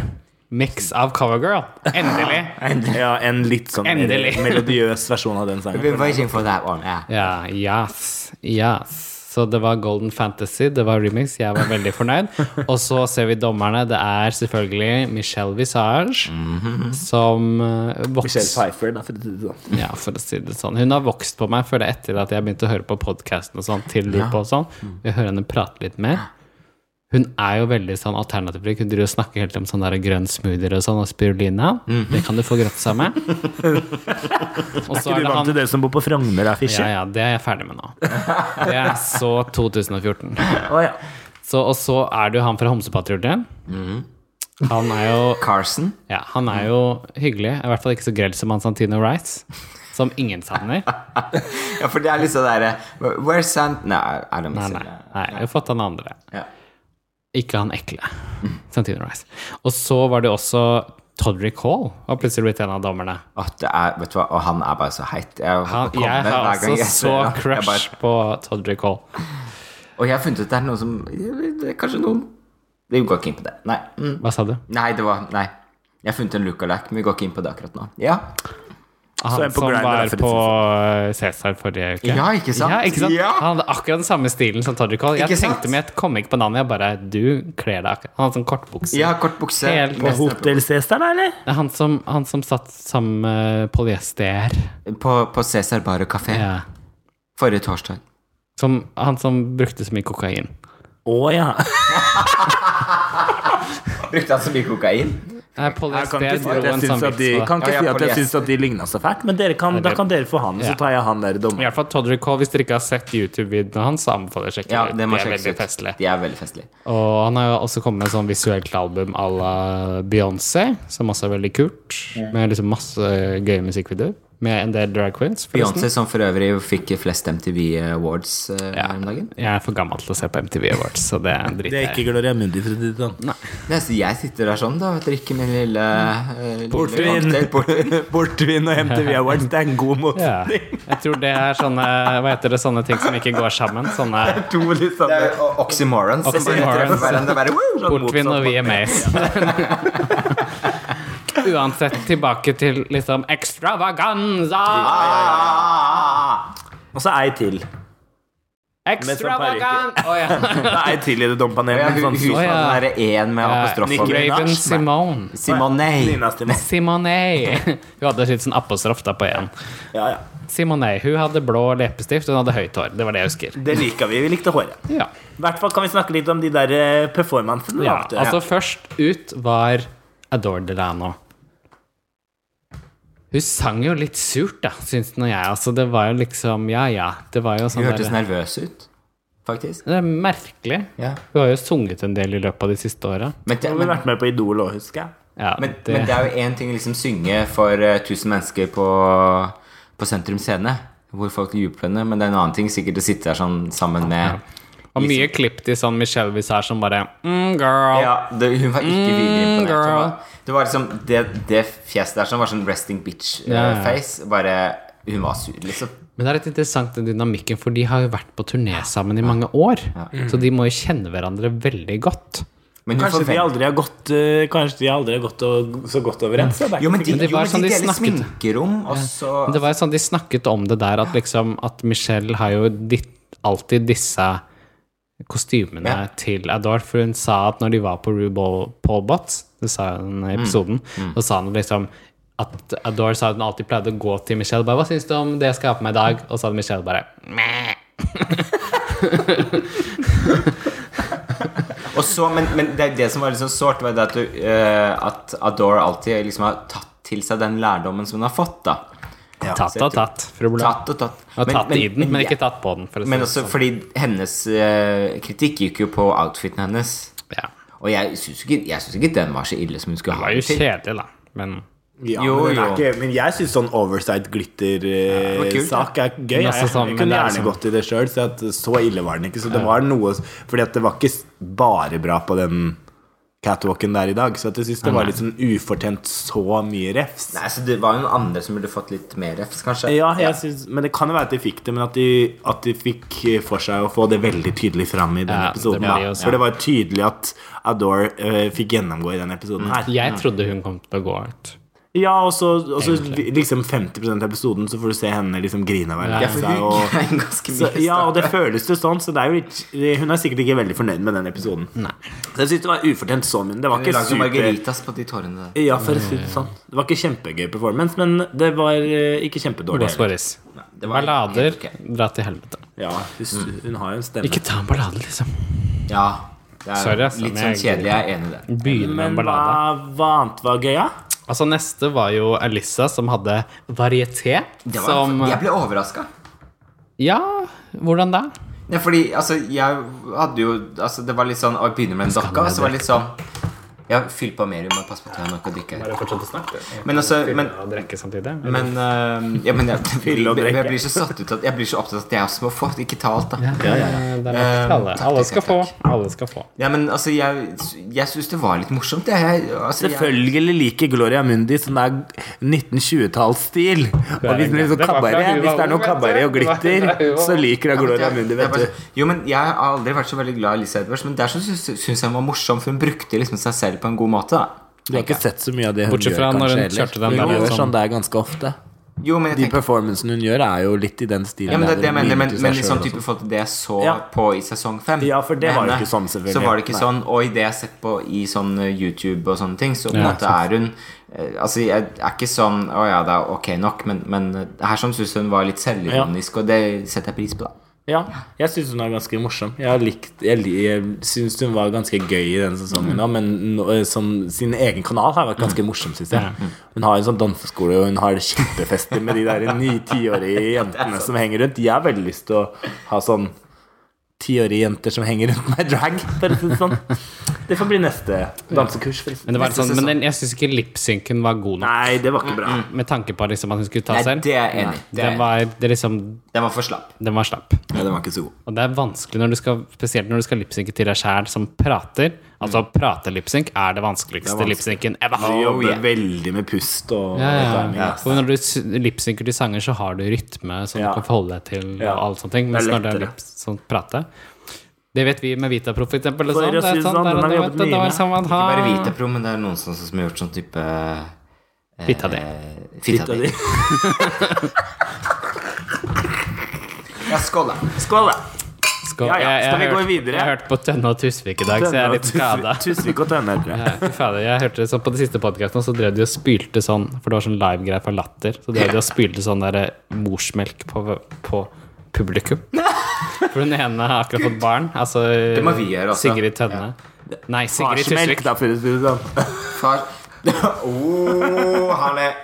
S1: mix av Covergirl. Endelig!
S3: Ja, en litt sånn mer
S1: Endelig.
S3: melodiøs versjon av den
S2: We're
S3: sangen.
S2: waiting for that one. Yeah.
S1: Ja, yes, yes. Så det var Golden Fantasy, det var remix, jeg var veldig fornøyd. Og så ser vi dommerne, det er selvfølgelig Michelle Visage, som eh,
S3: Mhm. Michelle
S1: vokser
S3: Pfeiffer, da, for å si det sånn.
S1: Ja, for å si det sånn. Hun har vokst på meg føler jeg, etter at jeg begynte å høre på podkasten og sånn, til RuPaul
S3: Mm.
S1: og sånn. Jeg hører henne prate litt mer. Hun er jo veldig sånn alternativrik. Hun driver og snakker helt om sånne der grønn smoothier og sånn, og spirulina. Det kan du få gratis av meg. Og så
S3: Mhm. Er du vant til dere som bor på Frogner, da, Fischer?
S1: ja, ja, det er jeg ferdig med nå. Det er så 2014.
S3: Å, ja.
S1: Så, og så er det jo han fra Homsepatruljen.
S3: Mhm.
S1: Han er jo
S2: Carson.
S1: ja, han er jo hyggelig. I hvert fall ikke så grell som han Santino Rice. Som ingen savner.
S2: Ja, for det er litt sånn derre Where's Sand... Nei, I don't
S1: Nei,
S2: miss
S1: nei. nei jeg har fått han andre. Mm.
S2: Ja.
S1: Ikke han ekle. Santino Rice. Og så var det også Todrick Hall var plutselig blitt en av dommerne.
S2: At det er, vet du hva, og han er bare så heit. Jeg,
S1: Han,
S2: kommer
S1: jeg har
S2: hver gang
S1: altså
S2: jeg ser
S1: så
S2: han. Jeg
S1: crush
S2: bare-
S1: på Todrick Hall.
S2: Og jeg har funnet ut at det er noen som det er Kanskje noen Vi går ikke inn på det. Nei. Mm.
S1: Hva sa du?
S2: Nei, det var Nei. Jeg har funnet en look-alike, men vi går ikke inn på det akkurat nå. Ja,
S1: Han
S3: en på
S1: som
S3: Grindr, da,
S1: var
S3: for å
S1: på eh, Cæsar forrige uke.
S2: Ja, ikke sant?
S1: Ja,
S2: Ja.
S1: Han hadde akkurat den samme stilen som Todrick Hall. Jeg
S2: Ikke sant?
S1: tenkte meg, jeg kom ikke på navnet, jeg bare Du kler deg akkurat Han hadde sånn kortbukse.
S2: ja kort bukse.
S1: Helt
S3: På
S2: mest-
S3: Hotel Cæsar, da, eller?
S1: Det er han som, han som satt sammen med polyester.
S2: På, på Cæsar Bar og Café
S1: Ja.
S2: forrige torsdag.
S1: Som, han som brukte så mye kokain.
S3: Å ja.
S2: Brukte han så mye kokain?
S1: Nei,
S3: Jeg kan
S1: polyester
S3: ikke si
S1: dro
S3: at jeg
S1: en
S3: syns
S1: sånn
S3: at de,
S1: vits på det.
S3: kan ikke si
S2: Ja, ja,
S3: at jeg
S2: polyester.
S3: syns at de ligna så fælt, men dere kan, da kan dere få han, så
S1: Ja.
S3: tar jeg han der
S1: I
S3: dommeren.
S1: hvert fall Todrick Hall, hvis dere ikke har sett YouTube-videoene hans, så anbefaler jeg å sjekke
S2: Ja,
S1: ut.
S2: det må
S1: De er
S2: sjekkes
S1: veldig
S2: ut.
S1: festlige.
S2: De er veldig festlige.
S1: Og han har jo også kommet med sånn visuelt album à la Beyoncé, som også er veldig kult. Med liksom masse gøye musikkvideoer. Med en del drag queens. forresten.
S2: Beyoncé, som for øvrig fikk flest MTV Awards eh, her om dagen.
S1: Jeg er for gammel til å se på MTV Awards, så det
S3: Det
S1: driter
S3: er
S1: jeg i.
S3: ikke Gloria Mundi, for å si det sånn.
S2: Nei, så jeg sitter der sånn, da, og drikker min lille eh, lille
S3: Portvin.
S2: cocktail, portvin.
S3: Bortvin og MTV Awards, det er en god
S1: Ja.
S3: motsetning.
S1: Jeg tror det er sånne Hva heter det, sånne ting som ikke går sammen? Sånne
S3: To litt sånn
S2: Det er o- oxymorons. som bare
S1: Oxymorons.
S2: treffer hverandre, bare, woo!
S1: Portvin og VMAs. Uansett, tilbake til liksom extravaganza!
S2: Ah!
S3: Og så ei til.
S1: Extravagan! Å ja.
S3: Det er ei til i det
S2: Ja,
S3: dompanelet.
S2: hun
S3: Sånn,
S2: hun som
S1: Å, ja.
S2: den derre én med apostrof
S3: Nicki
S2: over.
S3: Minaj.
S1: Raven Simone.
S2: Simone.
S3: Nina Stimon.
S1: Simone. Hun hadde litt sånn apostrof da på én.
S3: Ja, ja.
S1: Simone. Hun hadde blå leppestift, hun hadde høyt hår. Det var det jeg husker.
S3: Det liker vi. Vi likte håret.
S1: Ja.
S3: I hvert fall kan vi snakke litt om de der eh, performancene. da, eh,
S1: ja.
S3: vet du.
S1: Altså, først ut var Adore Delano. Hun sang jo litt surt, da, syns nå jeg. Altså, det var jo liksom Ja, ja. Det var jo
S2: Hun
S1: sånn
S2: hørtes
S1: der,
S2: nervøs ut, faktisk.
S1: Det er merkelig.
S2: Ja.
S1: Hun har jo sunget en del i løpet av de siste åra.
S2: Men, det,
S3: Hun har
S2: men,
S3: vært med på Idol òg, husker jeg.
S1: Ja,
S2: men,
S1: det-
S2: men det er jo én ting å liksom synge for eh, 1000 mennesker på, på Sentrum Scene, hvor folk jubler henne, men det er en annen ting sikkert å sitte der sånn sammen med
S1: og mye klipp til sånn Michelle Visage som bare mm, girl.
S2: liksom- Ja, det, hun var ikke
S1: Mm,
S2: videreimponert.
S1: girl.
S2: Hun var- Det var liksom det, det fjeset der som var sånn resting
S1: Ja, ja.
S2: bitch-face. Bare Hun var sur, liksom.
S1: Men det er litt interessant den dynamikken, for de har jo vært på turné sammen i mange år. Så de må jo kjenne hverandre veldig godt.
S2: Men hun
S3: Kanskje de
S2: forvent-
S3: aldri har gått, eh, kanskje de aldri har gått og, så godt overens. da. Det er
S2: Jo, men
S3: ikke
S2: de,
S1: Men det
S2: jo,
S1: var
S2: men
S1: sånn
S2: de
S1: de
S2: deler
S1: snakket.
S2: sminkerom, og så
S1: Men det var jo sånn de snakket om det der, at liksom At Michelle har jo ditt, alltid disse kostymene
S2: Ja.
S1: til Adore, for hun sa at når de var på RuPaul Paul Bots, det sa hun
S2: Mm.
S1: i episoden, så sa hun liksom at Adore sa at hun alltid pleide å gå til Michelle bare 'Hva syns du om det jeg skal ha på meg i dag?' Og så hadde Michelle bare Mæ.
S2: Og så, men, men det, det som var litt sånn sårt, var det at, du, eh, at Adore alltid liksom har tatt til seg den lærdommen som hun har fått. da
S1: Tatt
S2: så jeg
S1: og
S2: tror-
S1: tatt, fru Blad.
S2: Tatt og tatt.
S1: Og tatt i den, men ikke
S2: ja,
S1: tatt på den. For å si
S2: Men
S1: det
S2: også
S1: sånn.
S2: fordi hennes eh, kritikk gikk jo på outfiten hennes.
S1: sånn. ja.
S2: Og jeg syns ikke, jeg synes ikke den var så ille som hun skulle
S1: Det
S2: ha
S1: var jo
S2: den til.
S1: kjedelig, da. Men
S3: Ja,
S2: Jo,
S3: men, den er
S2: jo.
S3: Ikke, men jeg syns sånn oversight
S2: det var kult,
S3: glitter-sak er gøy. Jeg,
S1: Men altså sånn-
S3: jeg
S1: men
S3: kunne
S1: det er
S3: gjerne
S1: liksom-
S3: gått i det sjøl, så, at så ille var den ikke. Så det var noe Fordi at det var ikke s- bare bra på den catwalken der i dag. Så at jeg syns det var litt sånn ufortjent så mye refs.
S2: Nei, så Det var jo noen andre som burde fått litt mer refs, kanskje.
S3: Ja, jeg synes, men det kan jo være at de fikk det, men at de, at de fikk eh, for seg å få det veldig tydelig fram i den
S1: Ja, det
S3: episoden.
S1: ble
S3: Ja.
S1: det også, ja.
S3: For det var tydelig at Adore eh, fikk gjennomgå i den episoden her.
S2: Mm.
S1: jeg trodde hun kom til å gå ut.
S3: Ja, og så og så liksom 50 av episoden så får du se henne liksom grine og være
S2: Ja,
S3: lei
S2: for
S3: seg.
S2: hun
S3: Og,
S2: grein ganske mye.
S3: så, ja, og det føles jo sånn, så det er jo litt, hun er sikkert ikke veldig fornøyd med den episoden. Så jeg syns det var ufortjent så mye. Det var
S2: Hun
S3: ikke
S2: lagde
S3: super
S2: margaritas på de tårene der.
S3: ja, for å si det sånn. Det var ikke kjempegøy performance, men det var eh, ikke kjempedårlig. heller.
S1: Bosporis.
S2: Det var
S1: Ballader,
S2: helt ok.
S1: dra til helvete.
S3: Ja, hun, hun har jo en stemme.
S1: Ikke ta en ballade, liksom.
S2: Ja. Det er
S1: Sorry,
S3: altså,
S1: ass,
S2: litt
S1: men
S2: sånn
S1: jeg-
S2: kjedelig. Jeg er enig i det.
S1: Begynne med
S3: Men
S1: en
S3: hva,
S1: ballade.
S3: hva annet var gøy, da?
S1: Altså, neste var jo Alissa, som hadde varieté.
S2: det var,
S1: Som
S2: Jeg ble overraska.
S1: Ja, hvordan da?
S2: Ja, fordi altså, jeg hadde jo altså, Det var litt sånn Å begynne med en dokka, og så var det litt sånn Ja, fyll på mer. Vi må passe på at jeg har nok å drikke. her.
S1: Bare fortsett å snakke.
S2: Men altså, men,
S1: og drikke samtidig.
S2: men, eh, ja, men jeg,
S3: Fyll og
S2: jeg,
S3: drikke.
S2: jeg blir så satt ut at Jeg blir så opptatt av at jeg også må få. Ikke talt, da.
S1: ja, ja, ja. Det er lett
S2: Eh,
S1: til alle.
S2: takk,
S1: Alle
S2: takk,
S1: skal få.
S2: takk.
S1: Alle skal få.
S2: Ja, men altså, jeg, jeg syns det var litt morsomt. Jeg, jeg, altså, jeg,
S3: Selvfølgelig liker Gloria Mundi sånn der 1920-tallsstil. Og hvis det er noe
S1: Det var fra
S3: kabaret,
S1: hun
S3: hvis det er
S1: var
S3: noe
S1: ung,
S3: kabaret
S1: vet
S3: og
S1: du. Det var
S3: glitter,
S1: fra hun var
S3: så
S1: ung.
S3: liker jeg Gloria Mundi,
S2: Det er
S3: vet du.
S2: bare så- Jo, men Jeg har aldri vært så veldig glad i Lisa Edwards, men der så syns syns jeg hun var morsom, for hun brukte liksom seg selv på en god måte. da
S3: Du har ikke sett så mye av det hun
S1: Bortsett
S3: gjør,
S1: fra når hun
S3: kanskje,
S1: kjørte den
S3: Hun
S1: der
S3: gjør
S1: sånn-
S3: sånn der ganske ofte.
S2: Jo, men jeg
S3: De
S2: tenker
S3: performancene hun gjør, er jo litt i den stilen.
S2: ja, men det,
S3: der
S2: er det jeg
S3: hun
S2: mener, men,
S3: mimrer til seg
S2: men
S3: selv
S2: liksom
S3: og
S2: type
S3: sånn.
S2: forhold til det jeg så
S3: Ja.
S2: på i sesong fem
S3: Ja, for det
S2: med
S3: var jo
S2: henne,
S3: ikke sånn, selvfølgelig.
S2: Så var det ikke
S3: Nei.
S2: sånn, og i det jeg har sett på i sånn eh, YouTube og sånne ting, så på en
S1: Ja,
S2: måte er hun eh, Altså, jeg er ikke sånn Å ja, det er ok nok, men, men eh, her sånn syns hun var litt selvironisk, og det setter jeg pris på, da.
S3: Ja, jeg syns hun er ganske morsom. Jeg, har likt, jeg, li- jeg syns hun var ganske gøy i den sesongen, da, men nå- som sin egen kanal har vært ganske morsom, syns jeg. Hun har en sånn danseskole, og hun har kjempefester med de der ni tiårige jentene som henger rundt. Jeg har veldig lyst til å ha sånn tiårige jenter som henger rundt meg i drag, for å si det sånn. Det får bli neste dansekurs,
S1: Men,
S3: forresten.
S1: det var sånn, men den, jeg syns ikke lipsynken var god nok.
S3: Nei, det var ikke bra.
S1: Med tanke på liksom, at hun skulle ta
S2: Nei,
S1: selv.
S2: det er jeg enig i. Det er jeg
S1: Den
S2: enig i.
S1: var, det liksom,
S2: Den var for slapp.
S1: den var slapp.
S2: Ja, den var ikke så god.
S1: Og det er vanskelig, når du skal, spesielt når du skal lipsynke til deg sjæl som prater. Altså prate-lipsynk er det vanskeligste
S3: vanskelig.
S1: lipsynken ever.
S3: Du jobber
S2: yeah.
S3: veldig med pust og
S1: Ja, ja,
S3: timing,
S1: ja.
S3: ass.
S1: For når du s- lipsynker til sanger, så har du rytme som
S3: Ja.
S1: du kan forholde deg til.
S3: Ja.
S1: og alt sånne ting
S3: Det er
S1: Mens når det er
S3: lettere.
S1: lips, sånn prate Det vet vi med Vitapro, for eksempel. og
S3: For å
S1: sånn. Det
S3: si
S1: er
S3: det
S1: sånn
S3: sånn,
S1: der
S3: den
S1: og
S3: har vi
S1: da, vet
S3: jobbet
S1: du,
S3: mye
S1: da er det
S3: med.
S1: sånn man
S2: Ikke
S3: Ah.
S2: bare
S1: har-
S2: Vitapro, men det er noen som, som har gjort sånn type eh,
S1: Fitta di.
S2: Fitta di.
S3: Fitta di.
S2: Ja, skål, da.
S3: Skål, da.
S1: Skal,
S3: Ja, ja,
S1: jeg- jeg
S3: skal vi
S1: har
S3: gå
S1: hørt-
S3: videre?
S1: Jeg har hørt på Tønne og Tusvik i dag, så jeg er litt skada.
S3: Tusvik og Tønne, tror jeg.
S1: Fy fader, jeg hørte det sånn På det siste podkasten så drev de og spylte sånn For det var sånn live-greie fra Latter. Så drev de og spylte sånn der eh, morsmelk på, på publikum. For den ene har akkurat fått barn. Altså det
S2: må vi gjøre, altså.
S1: Sigrid Tønne. Nei, Sigrid
S3: Farsmelk,
S1: Tusvik.
S3: da, for å si det sånn.
S2: Far oh, han er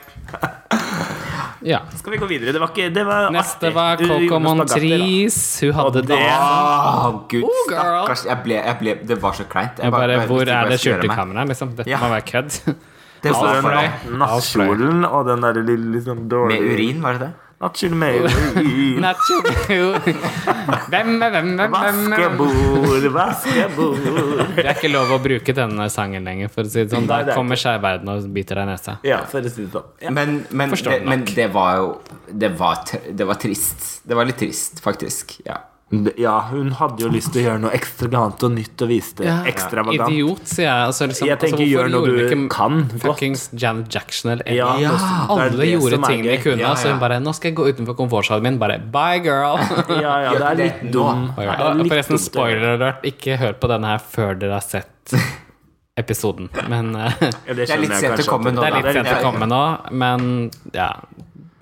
S1: Ja.
S3: Skal vi gå videre? Det var ikke det var
S1: Neste
S3: artig.
S1: var
S3: Du gjorde
S1: Coco
S3: spagatter,
S1: Montrese. Hun hadde
S3: Og
S1: det.
S3: det-
S2: Åh, Ah, gud,
S1: girl.
S2: stakkars. Jeg ble, jeg ble, det var så kleint. Jeg
S1: Jeg bare,
S2: jeg
S1: hvor
S2: visste ikke
S1: er
S2: hva
S1: det
S2: jeg skulle gjøre
S1: skjulte
S2: meg.
S1: kameraet? Liksom. Dette
S2: Ja.
S1: må være kødd.
S3: da.
S2: Det var
S3: Og
S2: for
S1: fløy.
S2: deg.
S3: den nattkjolen og den der lille liksom
S2: Med
S3: dårlige
S2: urin, var det det?
S3: Nattkjolen med urin.
S1: Nacho. Hvem er hvem? hvem, hvem, hvem?
S3: Vaskebord, vaskebord.
S1: Det er ikke lov å bruke denne sangen lenger, for å si det sånn.
S3: Nei,
S1: Da
S3: det er
S1: kommer skeiv verden og biter deg i nesa.
S3: Ja, for å si det sånn. Ja.
S2: Men, men,
S1: Forstått
S2: det,
S1: nok.
S2: men det var jo det var, tr- det var trist. Det var litt trist, faktisk. Ja.
S3: ja, hun hadde jo lyst til å gjøre noe ekstravagant og nytt og vise det
S1: Ja.
S3: ekstravagant.
S1: Idiot, sier jeg. Altså, liksom,
S3: Jeg tenker,
S1: altså, hvorfor
S3: gjør noe
S1: gjorde
S3: du
S1: vi ikke
S3: kan godt.
S1: Fuckings Janet Jackson eller
S3: Ja,
S1: eller-
S3: det er
S1: Alle
S3: det
S1: gjorde
S3: som er
S1: ting de
S3: gøy.
S1: kunne,
S2: Ja,
S1: så hun
S2: ja.
S1: bare Nå skal jeg gå utenfor komfortsonen min. Bare bye, girl.
S3: Ja, ja, det er litt
S2: Nå.
S3: dum.
S1: Og
S3: Det
S1: jeg-
S3: er
S1: og
S3: litt dumt å
S1: Forresten,
S3: gjøre.
S1: spoiler alert, ikke hør på denne her før dere har sett episoden. Men eh,
S3: Ja,
S2: Det er litt
S3: skjønner jeg
S2: sent å
S3: kanskje
S2: komme
S3: at-
S2: nå,
S1: det er
S2: da.
S1: litt sent å
S2: Ja.
S1: komme nå, men ja.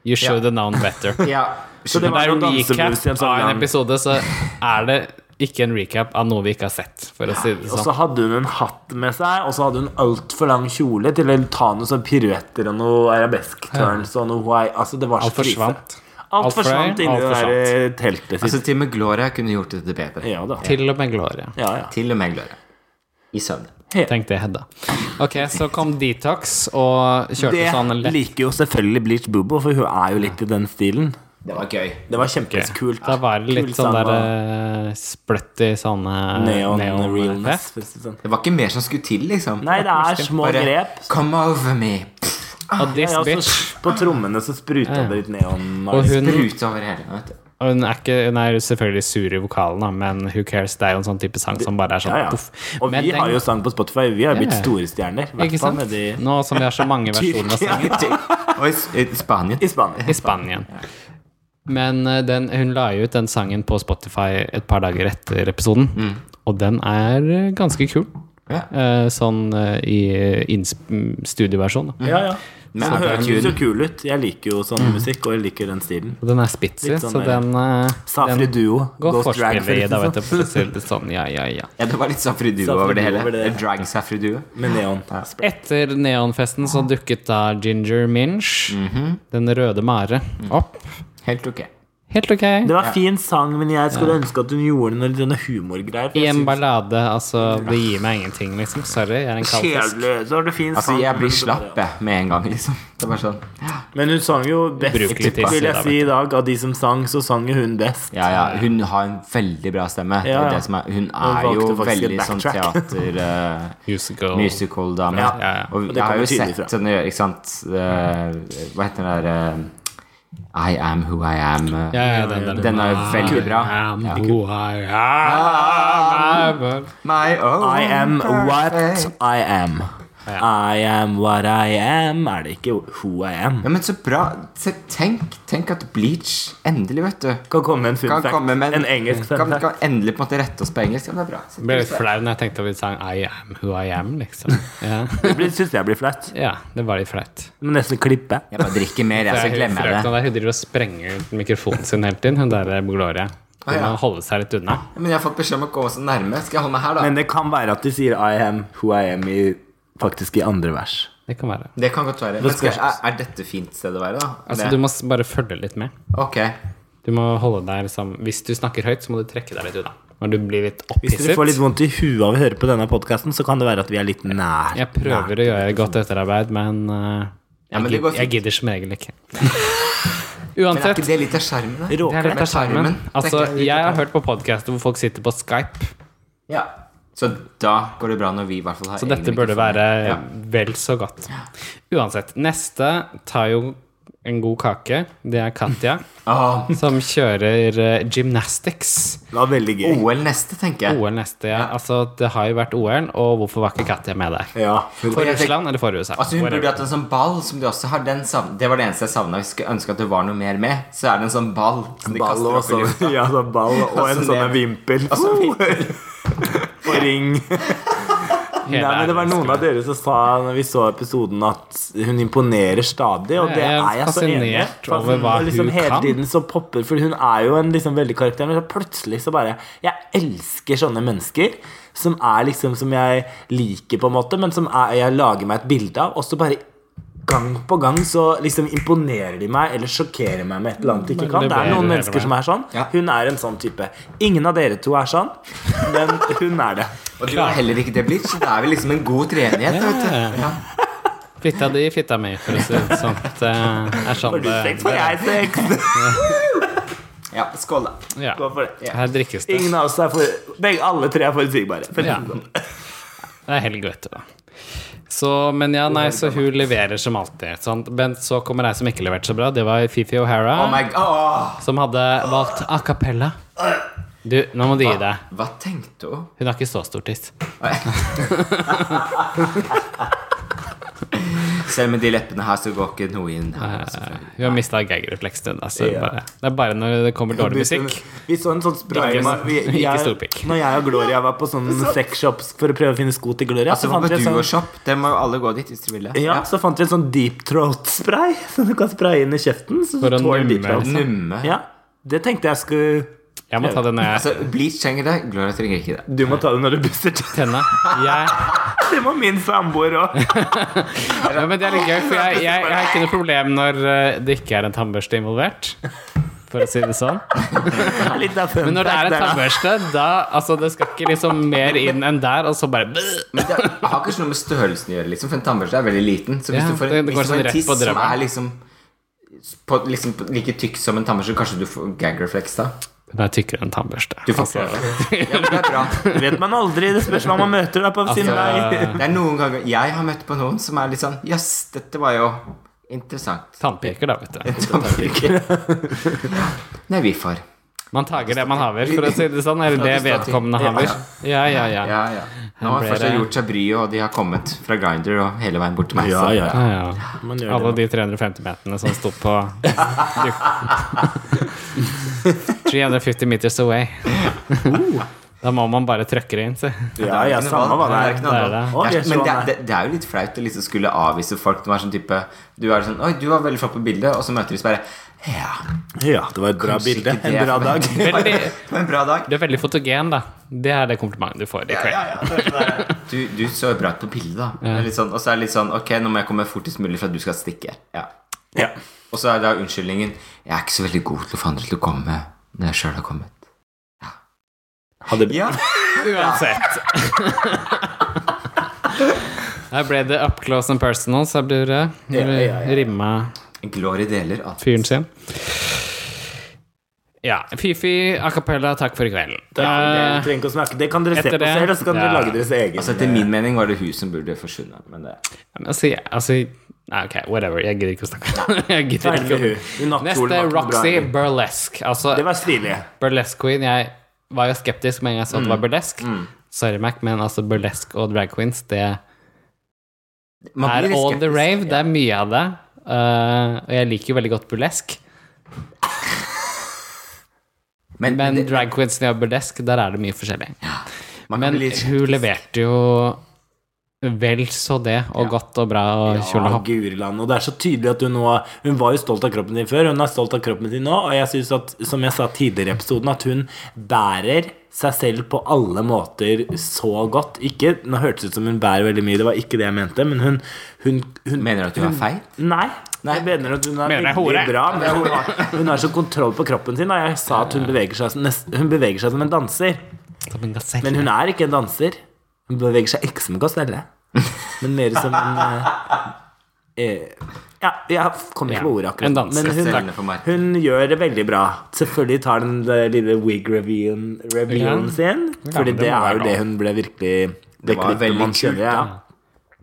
S1: You should have known better.
S2: ja.
S3: Så det
S1: Men
S3: var
S1: det er
S3: jo
S1: jo
S3: dansemus i en
S1: recap
S3: sånn
S1: av en
S3: lang
S1: episode, så er det ikke en recap av noe vi ikke har sett, for å si det
S3: Og
S1: sånn.
S3: så hadde hun en hatt med seg, og så hadde hun altfor lang kjole til å ta noen sånne piruetter og noe arabesk turns og noe why. Altså, det var så
S1: Alt
S3: krise.
S1: forsvant.
S3: Alt
S1: Alt
S3: forsvant
S1: fløy,
S3: inni
S1: alt
S3: det der eh, teltet sitt.
S2: Altså, til og med Gloria kunne gjort dette bedre.
S3: Ja da.
S1: Til og med Gloria.
S3: Ja, ja.
S2: Til og med Gloria. I søvn.
S1: Tenk det, Hedda. Ok, så kom Detox og kjørte sånn
S3: Det
S1: lett.
S3: liker jo selvfølgelig Bleach Bubbo, for hun er jo litt i den stilen.
S2: Det var gøy.
S3: Det var kjempekult.
S1: Da var det litt
S3: Kul
S1: sånn
S3: sang
S1: der
S3: og
S1: eh, spløtt i sånne eh,
S3: Neon,
S1: neon-
S3: realness. for å si det sånn.
S2: Det var ikke mer som skulle til, liksom.
S3: Nei, det er små
S2: Bare,
S3: grep.
S2: Come over me.
S1: Og this
S3: Ja,
S1: bitch,
S3: så på trommene så spruta det litt neon.
S1: Og hun,
S2: Sprute over hele. Vet du.
S1: og hun, er ikke, hun er jo selvfølgelig sur i vokalen, da, men who cares? Det er jo en sånn type sang som bare er sånn
S3: Ja, ja.
S1: poff.
S3: Og
S1: Men
S3: vi
S1: den-
S3: har jo sang på Spotify. Vi har blitt
S1: Ja.
S3: store stjerner. i hvert
S1: Ikke
S3: fall
S1: sant?
S3: med de-
S1: Nå som vi har så mange versjoner av sangen.
S2: Og i S- i Spanien.
S3: I Spania.
S1: I Spanien. Men eh, den, hun la jo ut den sangen på Spotify et par dager etter episoden, og den er eh, ganske kul.
S2: Ja.
S1: Eh, sånn eh, i innsp- mm, studioversjon. da.
S3: Ja, ja.
S2: Men
S3: Men den høres
S2: autotune.
S3: jo kul ut. Jeg liker jo sånn musikk, og jeg liker den stilen.
S1: Og den er spitsy,
S3: Litt sånn
S1: så
S3: der-
S1: den, eh,
S3: Safri
S1: den
S3: Duo,
S1: går
S3: Ghost Drag,
S1: forspillet i da,
S3: forresten,
S1: vet du. For å si det sånn, ja, ja, ja.
S2: Ja, det var litt Safri
S3: Safri
S2: Duo Sånn over det
S3: Duo
S2: hele.
S3: over det.
S2: Drag Safri Duo.
S3: med neon.
S1: Etter neonfesten så
S3: Mhm.
S1: dukket da Ginger Minch, den røde mare, opp.
S2: Helt ok.
S1: Helt ok.
S3: Det var fin sang, men jeg skulle ønske at hun gjorde noe litt sånne humorgreier. for
S1: I
S3: jeg
S1: en
S3: synes-
S1: ballade, altså. Det gir meg ingenting, liksom. Sorry, jeg er en kaldfisk.
S3: Kjedelig. Så var det fin
S2: Altså,
S3: sang.
S2: jeg
S3: men
S2: blir
S3: det var-
S2: slapp jeg, med en gang, liksom. Det er bare sånn
S3: Men hun sang jo best,
S1: Brukelig tips,
S3: vil jeg
S1: da, vet
S3: si i dag. Av de som sang, så sang jo hun best.
S2: Ja, ja. Hun har en veldig bra stemme. Det
S3: Ja, ja.
S2: er det som er, hun
S3: Hun
S2: er
S3: valgte
S2: jo
S3: faktisk
S2: veldig
S3: en
S2: sånn
S3: backtrack.
S2: teater... eh,
S1: Musical.
S2: Musical-dame.
S3: Ja,
S1: ja, ja.
S2: Og
S3: Og det
S2: jeg har
S3: kommer
S2: jo
S3: tydelig
S2: sett
S3: fram.
S2: henne gjøre Ikke sant eh, Hva heter den der eh, I am who I am. eh,
S1: Ja, ja, den, den,
S2: Den er jo veldig bra.
S1: I'm who I
S3: Ah.
S1: am.
S2: My own
S3: I am
S2: perfect.
S3: what I am. I am what I am. Er det ikke who I am?
S2: Ja, men så bra. Se, tenk, tenk at Bleach endelig, vet du
S3: Kan komme med en fun
S2: kan
S3: fact.
S2: komme med
S3: en engelsk fun
S2: kan,
S3: fact.
S2: kan endelig på en måte rette oss på engelsk. Ja, men det er bra. Så-
S1: Jeg ble litt flau når jeg tenkte at vi sang I am who I am, liksom. Ja,
S3: Det blir- synes jeg blir flaut.
S1: ja det var litt flaut.
S3: Må nesten klippe.
S2: Jeg bare drikker mer, Altså, jeg, så glemmer jeg det.
S1: Frøkna der, hun driver og sprenger ut mikrofonen sin hele tiden, hun der eh, Gloria. Hun
S2: Ah, ja.
S1: må holde seg litt unna.
S2: Ja, Men jeg har fått beskjed om å gå så nærme. Skal jeg holde meg her, da?
S3: Men det kan være at de sier I am who I am i, faktisk i andre vers.
S1: Det kan være.
S2: det kan godt være. Men skal, er, er dette fint sted å være, da?
S1: Altså,
S2: Det-
S1: du må s- bare følge litt med.
S2: Ok.
S1: Du må holde deg liksom Hvis du snakker høyt, så må du trekke deg litt unna. Når du blir litt
S3: Hvis dere
S1: opphisset.
S3: får litt vondt i huet av å høre på denne podkasten, så kan det være at vi er litt nær.
S1: Jeg prøver å gjøre godt etterarbeid, men, eh,
S2: Ja,
S1: jeg,
S2: men det går
S1: gid- jeg
S2: fint.
S1: gidder som regel ikke.
S2: Men er
S1: Uansett,
S2: ikke det litt av skjermen? da?
S1: det er litt av skjermen. Altså,
S2: Det er ikke-
S1: jeg har hørt på podcaster hvor folk sitter på Skype,
S2: Ja. Så da går det bra når vi i hvert fall har
S1: så dette burde være vel så godt. Uansett, neste tar jo en god kake. Det er Katja,
S2: Åh,
S1: som kjører eh, gymnastics.
S3: Det var veldig gøy.
S2: OL neste, tenker jeg.
S1: OL neste, ja. Altså, det har jo vært OL, og hvorfor var ikke Katja med der?
S3: Ja.
S1: For Russland eller for USA?
S2: Altså Hun
S1: Whatever.
S2: burde hatt en sånn ball som de også har. Den savn- det var det eneste jeg savna. Skulle ønske at det var noe mer med. Så er det en sånn ball som de
S3: Ball
S2: kaster
S3: og
S2: opp i lufta.
S3: sånn. Ja, så ball og en
S2: Altså,
S3: sånn vimpel. Og ring. Nei,
S1: Hele
S3: men det var
S1: æren
S3: noen av dere som sa når vi så episoden, at hun imponerer stadig. Og det
S1: Jeg er
S3: er jeg så enig i.
S1: fascinert over hva
S3: og liksom
S1: hun
S3: hele
S1: kan.
S3: tiden så popper For hun er jo en liksom veldig karakter, men så plutselig så bare Jeg elsker sånne mennesker. Som er liksom som jeg liker, på en måte, men som er, jeg lager meg et bilde av. Og så bare gang på gang så liksom imponerer de meg eller sjokkerer meg med et eller annet de ikke kan. Det er
S1: leverer
S3: noen
S1: hele
S3: mennesker som er sånn.
S2: Ja.
S3: Hun er en sånn type. Ingen av dere to er sånn, men hun er det.
S2: Og du har heller ikke det blitt, så det er vel liksom en god treenighet. vet du.
S1: Ja. Fitta di, fitta mi, for å si det sånn. Det er sånn
S3: Får du
S1: det
S3: sex, får jeg sex.
S2: Ja, skål, da.
S1: eh, ja.
S3: Gå for det.
S1: Her drikkes det.
S3: Ingen av oss er for begge, Alle tre er forutsigbare. For å si
S1: Ja.
S3: det sånn.
S1: Det er helg, vet du. da. Så, men ja, nei, så hun leverer som alltid. Sant? Men så kommer ei som ikke leverte så bra. Det var Fifi
S2: Oh
S1: O'Hara,
S2: my god.
S1: som hadde valgt a cappella. Du, nå må du gi deg.
S2: Hva tenkte hun?
S1: Hun har ikke så stor tiss.
S2: Selv med de leppene her, så går ikke noe inn. her, altså.
S1: Eh, Hun har mista gaggerefleksen. Altså,
S3: Ja.
S1: bare, det er bare når det kommer dårlig musikk.
S3: Vi så en sånn spray
S1: Ikke-
S3: ma- vi- vi-
S1: ikke
S3: jeg-
S1: stor pikk.
S3: Når jeg og Gloria var på sånn sexshops for å prøve å finne sko til Gloria,
S2: Altså,
S3: så
S2: hva
S3: fant vi
S2: med
S3: en
S2: duo
S3: sånn
S2: shop? Det må jo alle gå dit hvis de vil det.
S3: ja, så fant vi en sånn deep throat-spray som du kan spraye inn i kjeften. Så
S1: For å
S3: tåler deep
S1: numme,
S3: throat.
S1: liksom.
S2: Numme.
S3: Ja, det tenkte jeg skulle
S1: Jeg må ta det når jeg
S2: Altså, Bleach trenger det. Gloria trenger ikke det.
S3: Du må ta det når du busser til.
S1: tenna. Jeg
S3: Det må min samboer òg.
S1: Ja, men det er litt gøy, for jeg, jeg, jeg har ikke noe problem når eh, det ikke er en tannbørste involvert. For å si det sånn. Men når det er en tannbørste, da Altså, det skal ikke liksom mer inn enn der, og så bare
S2: Men det har kanskje noe med størrelsen å gjøre, liksom, for en tannbørste er veldig liten. Så hvis
S1: Ja,
S2: du får
S1: det-
S2: en,
S1: det går
S2: hvis du
S1: sånn
S2: får en
S1: rett
S2: tiss
S1: på
S2: som
S1: drømmen.
S2: er liksom, på, liksom på, like tykk som en tannbørste, kanskje du får gag reflex da?
S1: Den er tykkere enn tannbørste.
S2: Du får prøve. Ja, men det er bra.
S3: Vet man aldri. Det spørs hva man møter da på sin vei.
S1: Altså,
S2: Det er noen ganger Jeg har møtt på noen som er litt sånn Jøss, dette var jo interessant.
S1: Tannpeker, da, vet du.
S2: Tannbørste. Nei, vi får.
S1: Man tager det man haver, for å si det sånn. Eller det vedkommende haver. Ja, ja, ja.
S2: Ja, ja. Nå har
S1: ble
S2: først har
S1: det-
S2: gjort seg bryet, og de har kommet fra Grinder og hele veien bort til
S1: Altså,
S2: meg. så-
S1: Ja, ja.
S3: Man gjør
S1: Alle
S3: det.
S1: de 350 meterne som sto på 350 meters away. Da må man bare trøkke det inn, si.
S3: Ja, ja,
S2: ikke noe
S3: samme hva
S2: valg.
S3: det
S2: Det
S3: er.
S2: ikke noe
S1: Det er
S2: valg.
S1: det.
S3: Å,
S2: Det er-
S3: jeg så
S2: Men det,
S3: han her.
S2: det, det er jo litt flaut å liksom skulle avvise folk som er sånn type Du er sånn Oi, du var veldig flott på bildet, og så møter de så bare Ja.
S3: Ja, det var et bra
S2: Kanskje
S3: bilde.
S2: ikke det
S3: En
S2: er
S3: bra
S2: for meg.
S3: dag.
S1: Veldig,
S2: Det var en bra dag.
S1: du er veldig fotogen, da. Det er det komplimentet du får i kveld.
S2: Du, du så jo bra ut på bildet, da. Det er Litt sånn, og så er det litt sånn Ok, nå må jeg komme fortest mulig for at du skal stikke. Ja.
S3: Ja.
S2: Og så er da unnskyldningen Jeg er ikke så veldig god til å få andre til å komme når jeg sjøl har kommet.
S3: Hadde,
S2: Ja,
S1: Uansett. Her ble det up close and personal, sa Bure.
S2: Ja, ja, ja.
S1: Rimma
S2: Glory deler alt.
S1: fyren sin. Ja. Fifi a cappella, takk for i kveld.
S3: det,
S1: Eh,
S3: trenger ikke å snakke. det kan dere se
S1: etter
S3: på
S1: det-
S3: selv, og så kan dere
S1: Ja.
S3: lage deres egen.
S2: Altså Etter min mening var det hun som burde forsvunnet. Men det
S1: men altså, jeg- altså Nei, ok, whatever. Jeg gidder ikke å snakke. Jeg gidder
S3: Ferdig med
S1: ikke
S3: hun.
S1: å
S3: Hun nattsolen
S1: Neste
S3: var ikke bra.
S1: Roxy Burlesque.
S3: Det
S1: Altså
S3: var stilig.
S1: Burlesque Queen. Jeg var jo skeptisk med en gang jeg så at det var burlesque. Sorry, Mac, men altså burlesque og drag queens, det
S2: Man
S1: er
S2: blir litt
S1: all the
S2: skeptisk.
S1: rave. Det er mye av det. Eh, og jeg liker jo veldig godt burlesk,
S2: Men,
S1: men
S2: det-
S1: drag queens og burlesk, der er det mye forskjellig.
S2: man kan
S1: Men
S2: bli litt
S1: hun leverte jo vel så det, og godt og bra, og kjole og
S3: Ja,
S1: hopp.
S3: Guriland. Og det er så tydelig at hun nå Hun var jo stolt av kroppen din før, hun er stolt av kroppen din nå, og jeg synes at, som jeg sa tidligere i episoden, at hun bærer seg selv på alle måter så godt. Ikke Nå hørtes det ut som hun bærer veldig mye, det var ikke det jeg mente, men hun, hun, hun
S2: Mener du at hun er feit?
S3: Nei. Jeg mener at hun er
S1: Mener jeg hore?
S3: veldig bra. Men hun, har, hun har så kontroll på kroppen sin. Og jeg sa at hun beveger seg, som nest- hun beveger seg som en danser.
S1: Som en gasell.
S3: Men hun er ikke en danser. Hun beveger seg ikke som en gaselle, men mer som en eh, eh, Ja, jeg kommer
S1: Ja,
S3: ikke på ordet akkurat.
S1: en danser.
S2: Gasellene
S3: Men
S2: for
S3: hun,
S2: meg.
S3: hun gjør det veldig bra. Selvfølgelig tar den der lille wig-reviewen reviewen
S1: Ja.
S3: sin, Fordi
S1: men
S3: det
S1: det må være
S3: er jo det
S1: lov.
S3: hun ble virkelig Det
S2: var
S3: klippet
S2: veldig
S3: man
S2: kult,
S3: kjører, ja.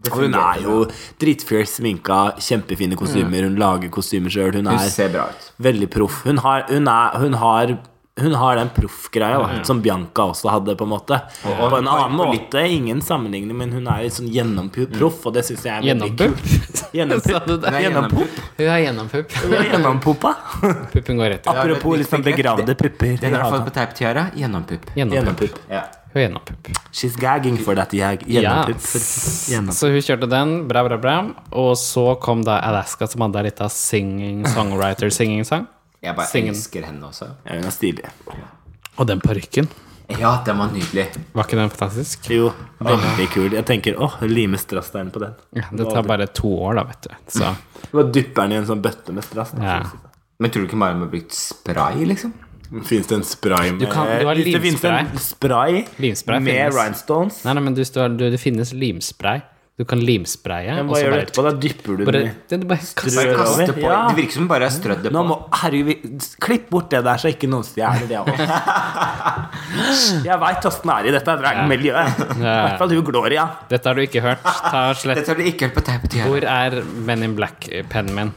S3: Og hun er jo dritfjell sminka, kjempefine
S1: Mm.
S3: kostymer, hun lager kostymer sjøl. Hun
S2: Hun
S3: er
S2: ser bra ut.
S3: Veldig proff. Hun har, hun er, hun har hun har den proffgreia
S1: Mm.
S3: da, som Bianca også hadde, på en måte. på en annen måte, ingen sammenligning, men hun er jo sånn gjennomproff, og det syns jeg er veldig
S1: Gjennompupp. Mm. Sa du
S3: Gjennompupp.
S1: det?
S2: Hun er
S3: Gjennompupp.
S1: Hun er gjennompupp.
S3: Hun er Gjennompuppa.
S1: Puppen går rett ut.
S3: Apropos liksom begravde pupper.
S2: Den har du fått på teiptiara. Gjennompupp.
S3: Ah,
S1: Gjennompupp.
S3: Gjennompupp.
S2: Ja.
S1: Hun er gjennompupp.
S3: She's gagging for that jag.
S1: Ja.
S3: Gjennompupp. Gjennompupp.
S1: Så hun kjørte den. Bra, bra, bra. Og så kom da Alaska, som hadde en liten singing-songwriter-singing-sang.
S2: Jeg bare
S1: Singen.
S2: elsker henne også.
S3: Ja, hun er stilig.
S1: Og den parykken.
S2: Ja, den var nydelig.
S1: Var ikke den fantastisk?
S3: Jo, veldig kul. Jeg tenker åh, lime strassstein på den.
S1: Ja, det tar bare to år, da, vet du. Så
S3: Bare dypper den i en sånn bøtte med strass.
S1: ja.
S2: Men tror du ikke Mariam har brukt spray, liksom?
S3: Fins det en spray med
S1: kan- du har
S3: Hvis det finnes en spray
S1: Limspray
S3: med
S1: finnes.
S3: rhinestones
S1: Nei, nei, men du, står- du, det finnes limspray. Du kan limspraye.
S3: Men Hva
S1: og så
S3: gjør du
S1: bare-
S3: etterpå? Da dypper du
S1: Bare,
S3: den i
S1: det, det bare kaster
S3: Strø. Strødd
S2: Bare kaste
S3: over?
S2: på.
S3: Ja.
S2: Det virker som hun bare har strødd det
S3: Nå
S2: på.
S3: må, herregud, vi- klipp bort det der, så ikke noen stjeler det av oss. Jeg veit åssen det er i dette dragmiljøet. I hvert fall du, Gloria.
S1: Dette har du ikke hørt. Ta slett
S2: Dette har du ikke hørt på teiptiara.
S1: Hvor er Men in Black-pennen min?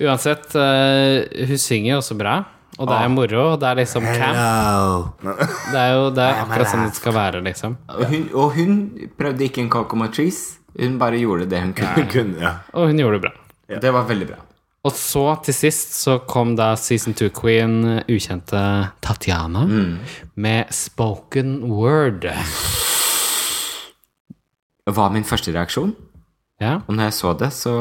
S1: Uansett, eh, hun synger jo også bra. Og
S3: Ah.
S1: det er moro. Og det er liksom camp. Det er jo det er akkurat sånn det skal være, liksom.
S2: Og hun, og hun prøvde ikke en coconut trees. Hun bare gjorde det hun kunne.
S3: Kunne, ja.
S1: Og hun gjorde det bra.
S2: Det var veldig bra.
S1: Og så til sist så kom da season two queen, ukjente Tatjana,
S3: Mm.
S1: med spoken word.
S2: Det var min første reaksjon.
S1: Ja.
S2: Og når jeg så det, så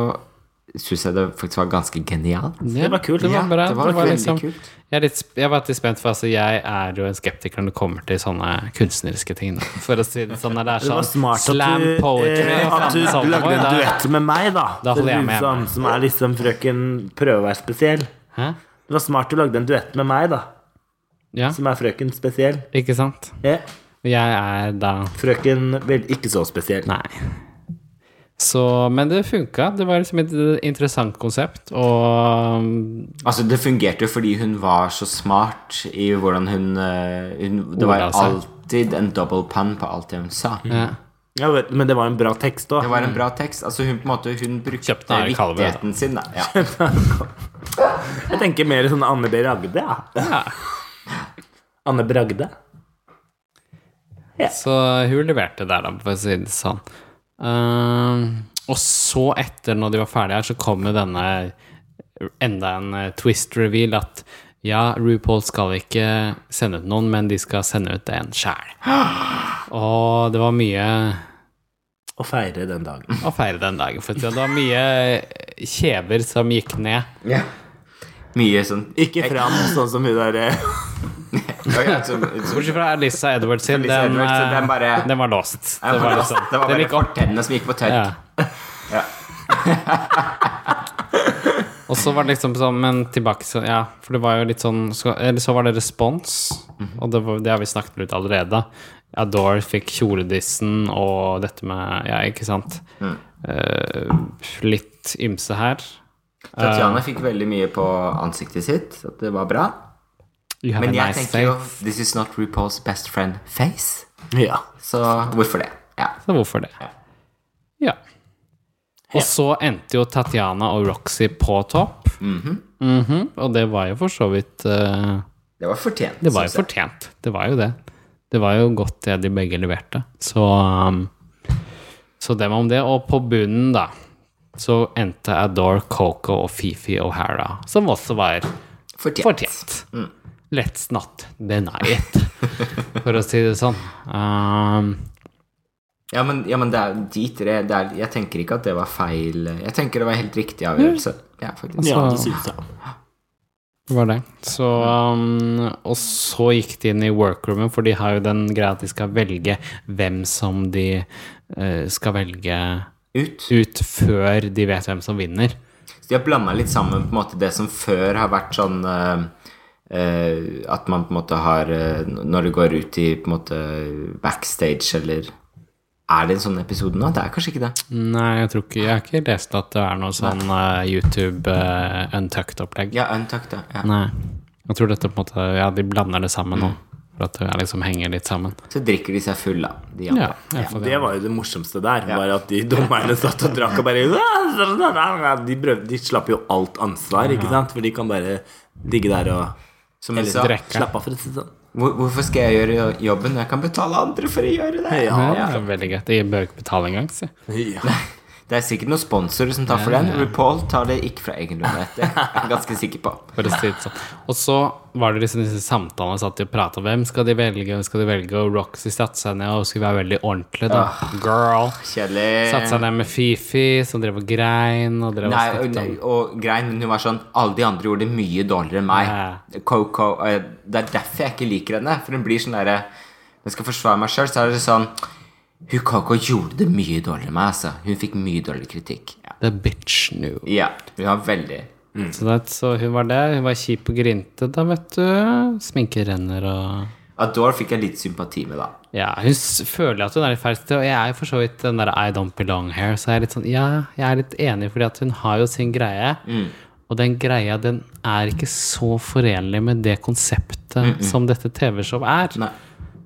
S2: syns jeg det faktisk var ganske genialt.
S1: Ja,
S3: var kult.
S1: Det var
S2: Ja,
S1: bra.
S2: det var
S1: det var
S2: veldig
S1: liksom,
S2: kult.
S1: jeg, er litt, sp- jeg var litt spent, for altså, jeg er jo en skeptiker når det kommer til sånne kunstneriske ting. Da. For å si det sånn, når det er
S3: Det var
S1: sånn
S3: smart at
S1: slam
S3: du,
S1: poetry
S3: eh,
S1: og
S3: at du
S1: faen sånn,
S3: lagde
S1: oi,
S3: en
S1: da-
S3: duett med meg, da.
S1: Da holder jeg
S3: Til hun
S1: med meg.
S3: Som, som er liksom frøken prøve å være spesiell. Det
S1: Hæ?
S3: var smart du lagde en duett med meg, da.
S1: Ja,
S3: Som er frøken spesiell.
S1: ikke sant?
S3: Ja.
S1: Jeg er da
S3: Frøken vel ikke så spesiell.
S1: Nei. Så, men det funka. Det var liksom et interessant konsept, og mm,
S2: Altså, det fungerte jo fordi hun var så smart i hvordan hun, eh, hun Det var
S1: Orda seg.
S2: alltid en double pun på alt det hun sa.
S1: ja.
S3: Ja, men det var en bra tekst òg.
S2: Det var en bra tekst. Altså, hun på en måte Hun brukte
S1: Kjøpte den her i Kalvø, da.
S2: viktigheten sin, da. Ja.
S3: Jeg tenker mer sånn Anne B. Ragde. Ja.
S1: ja.
S3: Anne Bragde.
S1: Så hun leverte der, da, for å si det sånn. Ehm, og så, etter når de var ferdige her, så kom jo denne enda en eh, twist reveal at ja, RuPaul skal ikke sende ut noen, men de skal sende ut en sjæl. Og det var mye
S3: Å feire den dagen.
S1: å feire den dagen, for det var mye kjever som gikk ned.
S2: Mye sånn
S3: Ikke fram sånn som hun der eh,
S2: Ja, ja, så, så,
S1: Bortsett fra Lisa Edwards sin,
S2: Lisa
S1: den,
S2: Edwards,
S1: eh,
S2: den bare-
S1: den var låst.
S2: det var,
S1: liksom-
S2: det var
S1: den
S2: bare
S1: gikk opp.
S2: fortennene som gikk på tørk.
S1: Ja.
S2: Ja.
S1: Og så var det liksom sånn, men tilbake til Ja, for det var jo litt sånn så, Eller så var det respons,
S2: Mhm.
S1: og det, var, det har vi snakket litt allerede. Adore fikk kjoledissen og dette med Ja, ikke sant?
S2: Mhm.
S1: Eh, litt ymse her.
S2: Tatjana fikk veldig mye på ansiktet sitt, så det var bra.
S1: You have
S2: Men
S1: a
S2: jeg
S1: nice
S2: tenker jo
S1: day.
S2: This is not RuPaul's best friend face.
S3: Ja.
S2: Så hvorfor det? Ja.
S1: Så hvorfor det? Ja. Og så endte jo Tatjana og Roxy på topp. Mhm, Og det var jo for så vidt eh,
S2: Det var fortjent.
S1: Det var jo
S2: synes jeg.
S1: fortjent. Det var jo det. Det var jo godt det de begge leverte. Så, um, så det var om det. Og på bunnen, da, så endte Adore, Coco og Fifi O'Hara, som også var
S2: fortjent.
S1: fortjent. Let's not deny it, for å si det sånn. Um,
S2: Ja, men, ja, men det er de tre det er, Jeg tenker ikke at det var feil. Jeg tenker det var helt riktig avgjørelse. Ja, faktisk.
S3: Mm. ja,
S1: Så-
S3: det synes jeg.
S1: Det var det. Så, um, og så gikk de inn i workroomet, for de har jo den greia at de skal velge hvem som de eh, skal velge
S2: Ut.
S1: ut før de vet hvem som vinner.
S2: Så de har blanda litt sammen på en måte det som før har vært sånn eh, eh, At man på en måte har eh, Når det går ut i på en måte backstage eller Er det en sånn episode nå? Det er kanskje ikke det.
S1: Nei, jeg tror ikke Jeg har ikke lest at det er noe sånn eh, YouTube uh, untucked-opplegg.
S2: Ja, Untucked, ja. ja.
S1: Nei. Jeg tror dette på en måte Ja, de blander det sammen nå. For at det liksom henger litt sammen.
S2: Så drikker de seg full, da. De andre.
S1: Ja, i hvert fall
S3: Det
S1: det.
S3: var jo det morsomste der. Var at de dommerne satt og drakk og sånn bare De, prøvde, de slapp jo alt ansvar, ikke sant? For de kan bare ligge der og
S2: Som jeg
S3: Eller
S2: sa,
S1: drikke.
S3: slappe av, for å si det sånn.
S2: hvor, hvorfor skal jeg gjøre jo- jobben? Jeg kan betale andre for å gjøre det.
S1: Ja,
S3: Ja.
S1: det er veldig greit. De bør ikke betale engang, si.
S3: ja.
S2: Det er sikkert noen sponsorer som tar for den. RuPaul tar det ikke fra egen lomme. Det er jeg ganske sikker på.
S1: For å si det sånn. Og så var det liksom disse samtalene satt de og pratet om hvem skal de velge, hvem skal de velge, og Roxy satte seg ned og skulle være veldig ordentlig, da. Girl. Satte seg
S2: Kjedelig.
S1: ned med Fifi, som drev og grein, og drev og
S2: Nei, og,
S1: snakket om
S2: og grein, men hun var sånn Alle de andre gjorde det mye dårligere enn meg.
S1: Ja.
S2: Coco eh, Det er derfor jeg ikke liker henne. For hun blir sånn derre Når jeg skal forsvare meg sjøl, så er det sånn Hun Coco gjorde det mye dårligere enn meg, altså. Hun fikk mye dårligere kritikk. Ja.
S1: The bitch knew.
S2: ja hun har veldig
S1: Så, det, så hun var der. Hun var kjip og grinte, da, vet du. Sminke renner og
S2: Adore fikk jeg litt sympati med, da.
S1: Ja, hun s- føler at hun er litt feil sted, og jeg er jo for så vidt den der I don't belong here, så jeg er litt sånn Ja, jeg er litt enig, fordi at hun har jo sin greie, og den greia, den er ikke så forenlig med det konseptet som dette TV-showet er.
S2: Nei.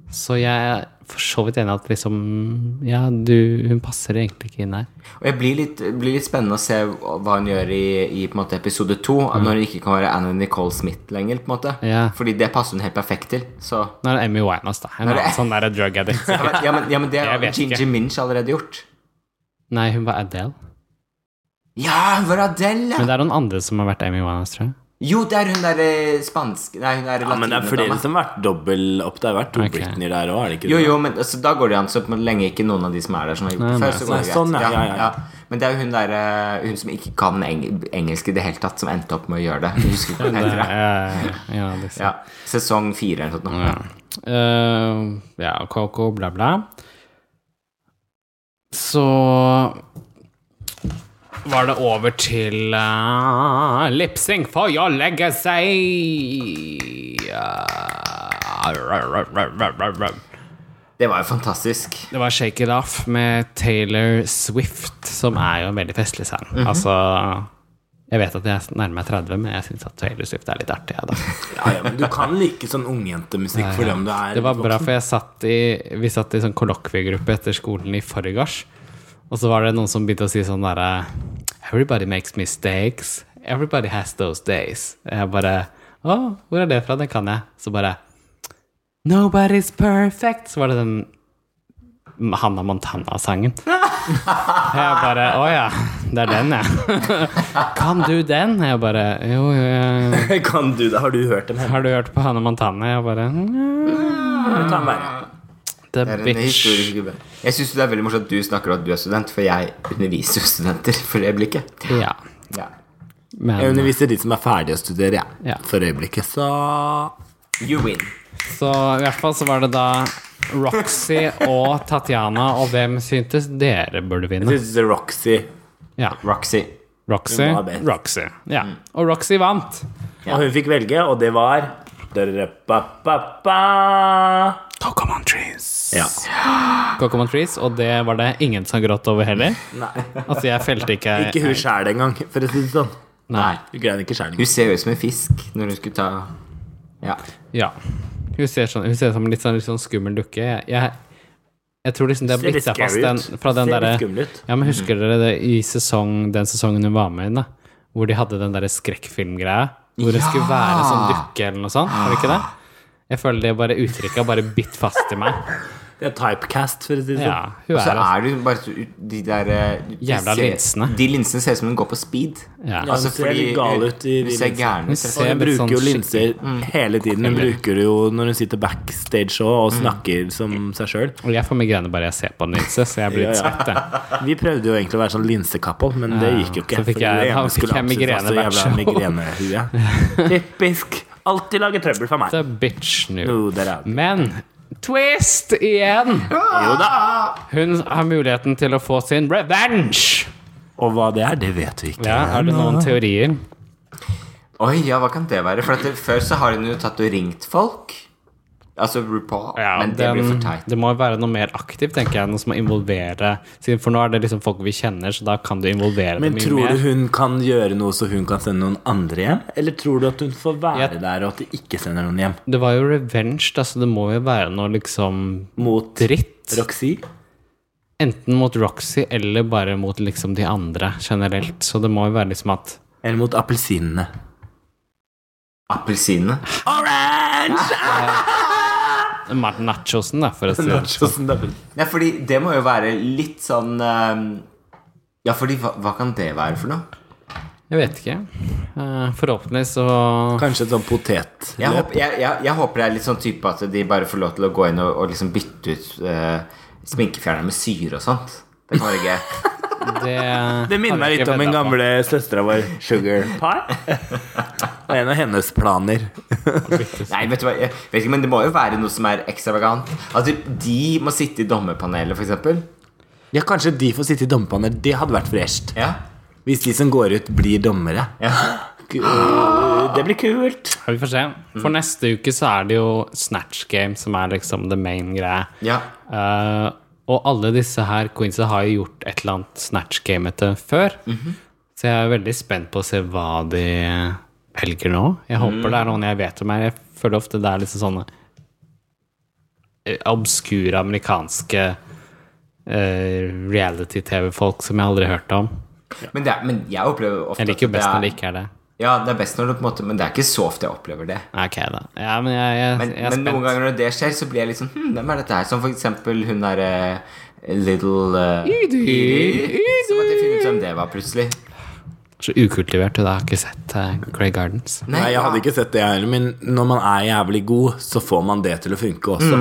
S1: Så jeg er for så vidt enig at liksom Ja, du Hun passer egentlig ikke inn her.
S2: Og jeg blir litt, blir litt spennende å se hva hun gjør i, i på en måte episode to. at Når hun ikke kan være Anna Nicole Smith lenger. på en måte
S1: Mm. Ja.
S2: Fordi det passer hun helt perfekt til. Så
S1: Nå er det Emmy Winehouse, da. En
S2: Nå er det-
S1: annen sånn der drug addict.
S2: Ja, men, ja, men, ja, men det
S1: Jeg
S2: har
S1: vet
S2: Ginger
S1: ikke.
S2: Minch allerede gjort.
S1: Nei, hun var Adele.
S2: Ja, hun var Adele!
S1: Men
S2: ja.
S1: det er noen andre som har vært Emmy Winehouse, tror jeg.
S2: Jo, det er hun derre spansk Nei, hun er
S3: ja, men det er flere
S2: latinedama.
S3: som har vært dobbel opp. Det har vært to
S1: Ok.
S3: Britney der òg, er det ikke
S2: Jo,
S3: det?
S2: jo, men altså, da går det an. Så men lenge ikke noen av de som er der, som har gjort det
S1: Nei,
S2: før, så
S3: nei.
S2: går det greit.
S3: Sånn, ja, ja, ja.
S2: Men det er jo hun derre Hun som ikke kan eng engelsk i det hele tatt, som endte opp med å gjøre det. Jeg husker ikke hva hun heter. da.
S1: Ja, ja, liksom.
S2: Ja, sesong fire eller noe sånt. nå.
S1: Eh, ja, Coco, bla, bla. Så var det over til uh, lipsing for å legge seg.
S2: Det var jo fantastisk.
S1: Det var Shake It Off med Taylor Swift, som er jo en veldig festlig sang. Altså Jeg vet at jeg nærmer meg 30, men jeg syns at Taylor Swift er litt artig. jeg, da.
S3: Ja, ja, men du kan like sånn ungjentemusikk for om du er
S1: Det var bra, for jeg satt i, vi satt i sånn kollokviegruppe etter skolen i forgårs. Og så var det noen som begynte å si sånn derre Everybody makes mistakes. Everybody has those days. Og jeg bare Å, hvor er det fra? Det kan jeg. Så bare Nobody's perfect. Så var det den Hanna Montana-sangen. Jeg bare Å ja, det er den, ja. Kan du den? Jeg bare Jo, jo, jo.
S3: Kan du det? Har du hørt dem?
S1: Har du hørt på Hanna Montana? Jeg bare "Mm,
S3: Ta den der.
S1: The
S2: Det er en
S1: bitch.
S2: historisk gubbe. Jeg syns det er veldig morsomt at du snakker om at du er student, for jeg underviser jo studenter for øyeblikket.
S1: Ja,
S2: Ja.
S3: Jeg
S1: men
S3: underviser de som er ferdige å studere, jeg.
S1: Ja.
S3: For øyeblikket, så
S2: You win.
S1: Så i hvert fall så var det da Roxy og Tatjana, og hvem syntes dere burde vinne?
S3: This is Roxy.
S1: Ja,
S2: Roxy.
S1: Roxy.
S3: Hun var best. Mm.
S1: Roxy. Ja. Og Roxy vant.
S3: Og hun fikk velge, og det var Da-da-da-ba-ba-ba.
S1: Cocoman Trees.
S3: Ja.
S1: Cocoman Trees, og det var det ingen som gråt over heller.
S3: Nei.
S1: Altså, jeg felte ikke
S3: Ikke hun sjæl engang, for å si det sånn.
S2: Nei.
S3: Hun grein ikke sjæl engang.
S2: Hun ser jo ut som en fisk når hun skulle ta Ja.
S1: Ja. Hun ser, sånn, hun ser ut som en litt sånn, litt sånn skummel dukke. Jeg, jeg, jeg tror liksom det har
S3: Ser
S1: blitt
S3: litt
S1: seg fast
S3: scary
S1: den,
S3: ut.
S1: fra den
S3: Ser litt
S1: derre
S3: skummel ut.
S1: Ja, men husker dere det i sesong, den sesongen hun var med i, da? Hvor de hadde den derre skrekkfilmgreia? Hvor det skulle være en sånn dukke eller noe sånt? Var det ikke det? Jeg føler det bare uttrykket har bare bitt fast i meg.
S3: Det er typecast, for å si det
S1: Ja,
S3: sånn.
S1: hun
S2: Og så
S1: er det.
S2: er det jo bare så- de der eh, de
S1: Jævla
S2: ser-
S1: linsene.
S2: De linsene ser ut som hun går på speed. Altså,
S1: Ja.
S3: Ja, hun ser litt gal ut i
S2: hun
S3: de
S2: ser
S3: linsene.
S2: gæren
S1: Hun
S2: ut. rett og
S1: ser
S3: Hun
S2: slett.
S1: litt
S3: bruker
S1: sånn
S3: jo linser
S1: skikkelig-
S3: hele tiden. Hun bruker jo når hun sitter backstage også,
S1: Mm.
S3: og snakker som seg sjøl.
S1: Og jeg får migrene bare jeg ser på den linse, så jeg blir litt
S3: Ja, ja.
S1: svett, jeg.
S3: Vi prøvde jo egentlig å være sånn linsekapphold, men det gikk jo ikke.
S1: Så fikk
S3: fordi
S1: jeg-
S3: det ene
S1: da fikk
S3: skulle
S1: jeg
S3: absolutt
S1: migrene
S3: være så
S1: hvert
S3: jævla migrenehue. Typisk. Alltid lager trøbbel for meg.
S1: Det er bitch nå.
S3: Jo, der er det.
S1: Men twist igjen!
S3: Jo da.
S1: Hun har muligheten til å få sin revenge.
S3: Og hva det er, det vet vi ikke.
S1: Ja, eh, har du noen teorier?
S2: Oi, ja, hva kan det være? For at det, Før så har hun jo tatt og ringt folk. Altså RuPaul.
S1: Ja,
S2: men det blir
S1: den-
S2: for teit.
S1: Det må jo være noe mer aktivt, tenker jeg, noe som må involvere Siden For nå er det liksom folk vi kjenner, så da kan du involvere
S3: Men
S1: dem i
S3: tror
S1: mer.
S3: du hun kan gjøre noe så hun kan sende noen andre hjem? Eller tror du at hun får være
S1: Jeg-
S3: der, og at de ikke sender noen hjem?
S1: Det var jo revenge, da, så det må jo være noe liksom
S3: Mot
S1: dritt.
S3: Roxy?
S1: Enten mot Roxy eller bare mot liksom de andre generelt. Så det må jo være liksom at
S3: Eller mot appelsinene?
S2: Appelsinene.
S3: Orange!
S1: Martin Nachosen, da, for å si det.
S3: Nachosen, da.
S2: Nei, fordi det må jo være litt sånn eh, Ja, fordi hva, hva kan det være for noe?
S1: Jeg vet ikke. Eh, Forhåpentlig så
S3: Kanskje et sånn potet...
S2: Jeg, håper, jeg, jeg, jeg håper det er litt sånn type at de bare får lov til å gå inn og, og liksom bytte ut eh, sminkefjerneren med syre og sånt. Det kan være gøy.
S1: Det,
S3: Det minner
S1: har
S3: meg
S1: jeg
S3: litt
S1: ikke
S3: om den
S1: vedda på.
S3: gamle søstera vår, Sugar Pie. Det er en av hennes planer.
S2: Nei, vet du hva, jeg vet ikke, men det må jo være noe som er ekstravagant. At de, de må sitte i dommerpanelet, for eksempel.
S3: Ja, Kanskje de får sitte i dommerpanel. Det hadde vært fresht.
S2: Ja.
S3: Hvis de som går ut, blir dommere.
S2: ja.
S3: K- øh, Det blir kult.
S1: Ja, Vi får se.
S2: Mm.
S1: For neste uke så er det jo Snatch Game som er liksom the main greie.
S2: Ja.
S1: Eh, og alle disse her queensa har jo gjort et eller annet Snatch Game-ete før.
S2: Mhm.
S1: Så jeg er veldig spent på å se hva de velger nå. Jeg
S2: Mhm.
S1: håper det er noen jeg vet om her. Jeg føler ofte det er liksom sånne eh, obskure amerikanske eh, reality-TV-folk som jeg aldri har hørt om.
S2: Men, det er, men jeg opplever ofte
S1: Jeg liker jo
S2: at
S1: best når det
S2: det er,
S1: ikke er det.
S2: Ja, det er best når det på en måte Men det er ikke så ofte jeg opplever det.
S1: Ok, da. Ja, men jeg, jeg,
S2: Men,
S1: jeg er
S2: men
S1: spent.
S2: noen ganger når det skjer, så blir jeg litt sånn Hm, hvem er dette her? Som for eksempel hun derre Little eh, Edie. Så måtte jeg finne ut hvem det var, plutselig.
S1: Så ukultivert, og da har jeg ikke sett eh, Grey Gardens.
S3: Nei, Jeg hadde ikke sett det, jeg heller. Men når man er jævlig god, så får man det til å funke også.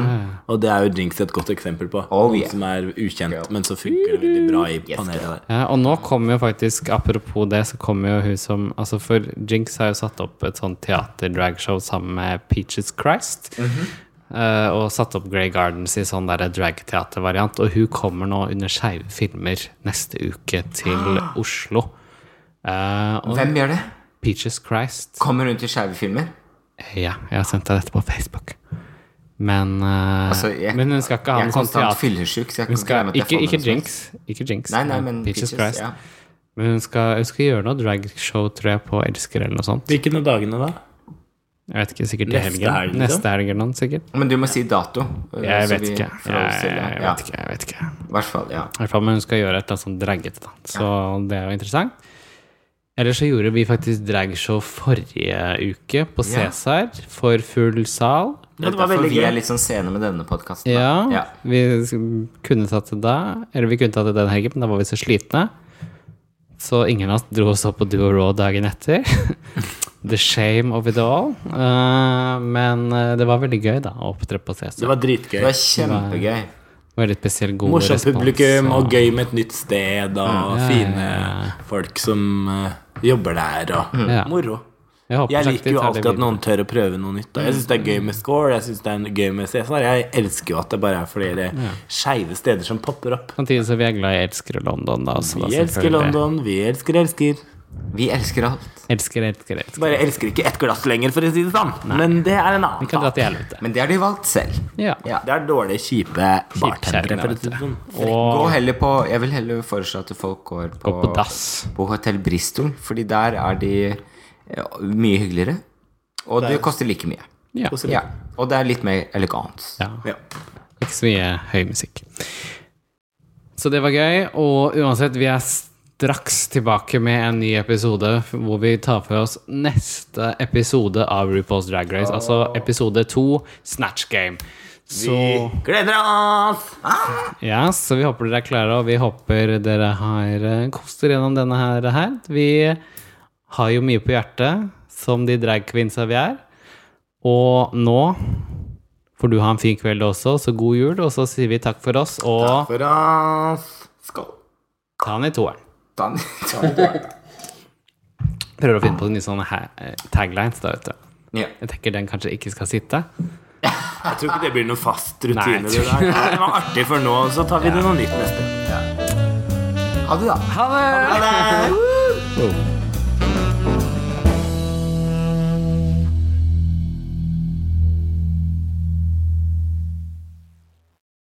S3: Og det er jo Jinx et godt eksempel på.
S2: Mm. Oh,
S3: Noen
S2: yeah.
S3: Som er ukjent, men så funker det veldig bra i panelet der.
S1: Ja, og nå kommer jo faktisk, apropos det, så kommer jo hun som Altså, for Jinx har jo satt opp et sånt teater-dragshow sammen med Peaches Christ.
S2: Mhm.
S1: eh, og satt opp Grey Gardens i sånn derre dragteatervariant. Og hun kommer nå under Skeive filmer neste uke til
S2: Ah.
S1: Oslo. Eh, og
S2: Hvem gjør det?
S1: Peaches Christ
S2: Kommer hun til skeive filmer?
S1: Ja, jeg har sendt deg dette på Facebook. Men, eh,
S2: Altså, jeg-
S1: men hun skal ikke ha
S2: Jeg
S1: en
S2: er
S1: sånn
S2: konstant
S1: teater...
S2: fyllesyk, så jeg
S1: Hun
S2: kan
S1: skal,
S2: glemme at jeg
S1: ikke,
S2: får
S1: ikke
S2: med meg
S1: Jinx. Ikke Jinx.
S2: Nei, nei, men
S1: Peaches,
S2: Peaches,
S1: Christ.
S2: ja.
S1: Men hun skal, hun skal gjøre noe dragshow, tror jeg, på Elsker eller noe sånt.
S3: Hvilken av dagene da?
S1: Jeg vet ikke, sikkert til
S3: Neste
S1: helgen.
S3: helg, liksom?
S1: Neste helg eller noe, sikkert.
S2: noe. Men du må si dato. eh,
S1: Jeg
S2: så
S1: vet
S2: vi
S1: ikke.
S2: får
S1: Jeg,
S2: oss til
S1: jeg,
S2: det.
S1: jeg
S2: ja.
S1: vet ikke. Jeg vet ikke.
S2: I hvert fall, ja.
S1: I hvert fall, men hun skal gjøre et eller annet sånn draggete, da. Så det er jo interessant. Ellers så gjorde vi faktisk dragshow forrige uke på
S2: Ja.
S1: Cæsar for full sal.
S3: Ja, det var
S2: Derfor
S3: veldig
S2: vi
S3: gøy.
S2: er litt sånn sene med denne podkasten.
S1: Ja,
S2: ja.
S1: vi kunne tatt det da, eller vi kunne tatt det den helgen, men da var vi så slitne. Så ingen av oss dro oss opp på Duo Raw dagen etter. The shame of it all. Eh, men eh, det var veldig gøy da, å opptre på
S3: Det
S1: CC.
S3: var dritgøy.
S2: Det var kjempegøy.
S1: Veldig spesiell god
S3: Morsomt
S1: respons.
S3: publikum
S1: og-
S3: og gøy med et nytt sted og
S1: ja,
S3: fine
S1: ja.
S3: folk som eh, jobber der og
S1: Ja.
S3: moro.
S1: Jeg, håper
S3: Jeg
S1: sagt de
S3: liker jo
S1: tar det
S3: alltid at
S1: videre.
S3: noen tør å prøve noe nytt. da. Jeg syns det er gøy med score, jeg synes det er gøy med CSR. Jeg elsker jo at det bare er flere skeive steder som popper opp.
S1: Samtidig som vi er glad i Elsker og London, da. Så da
S3: Vi elsker
S1: selvfølgelig.
S3: London, vi elsker elsker.
S2: Vi elsker alt.
S1: Elsker, elsker, elsker.
S3: Bare elsker ikke ett glass lenger, for å si det sånn. Men det er en annen
S1: Vi kan dra
S3: sak.
S1: til helvete.
S2: Men det har de valgt selv.
S1: Ja.
S2: Ja.
S3: Det er dårlige, kjipe bartendere,
S1: kjerringer,
S3: for å
S1: vet
S3: si det sånn.
S2: Gå
S1: Og
S2: heller på Jeg vil heller foreslå at folk går på,
S1: gå på dass.
S2: på Hotell Bristol, fordi der er de ja, mye hyggeligere. Og det koster like mye.
S1: Ja.
S2: Ja. Og det er litt mer elegant.
S1: ja.
S3: Ja.
S1: Ikke så mye høy musikk. Så det var gøy, og uansett, vi er straks tilbake med en ny episode hvor vi tar for oss neste episode av RuPaul's Drag Race, altså episode to, Snatch Game. Så
S3: Gleder oss!
S1: Ja, så vi håper dere er klare, og vi håper dere har eh, kost dere gjennom denne her. her. Vi har jo mye på hjertet, som de drag queensa vi er. Og nå får du ha en fin kveld også, så god jul, og så sier vi takk for oss, og
S3: For oss. Skål.
S1: ta den i toeren.
S2: Dan-
S1: Prøver å finne på en ny sånn ha- eh, taglines, da, vet du.
S2: Ja.
S1: Jeg tenker den kanskje ikke skal sitte.
S3: Jeg tror ikke det blir noen fast
S1: Nei,
S3: rutine.
S1: jeg
S3: det,
S1: tror
S3: der. det var artig for nå, så tar vi det noe nytt neste.
S2: Ha det, da.
S1: Ha det!
S3: Ha det!
S1: Oh.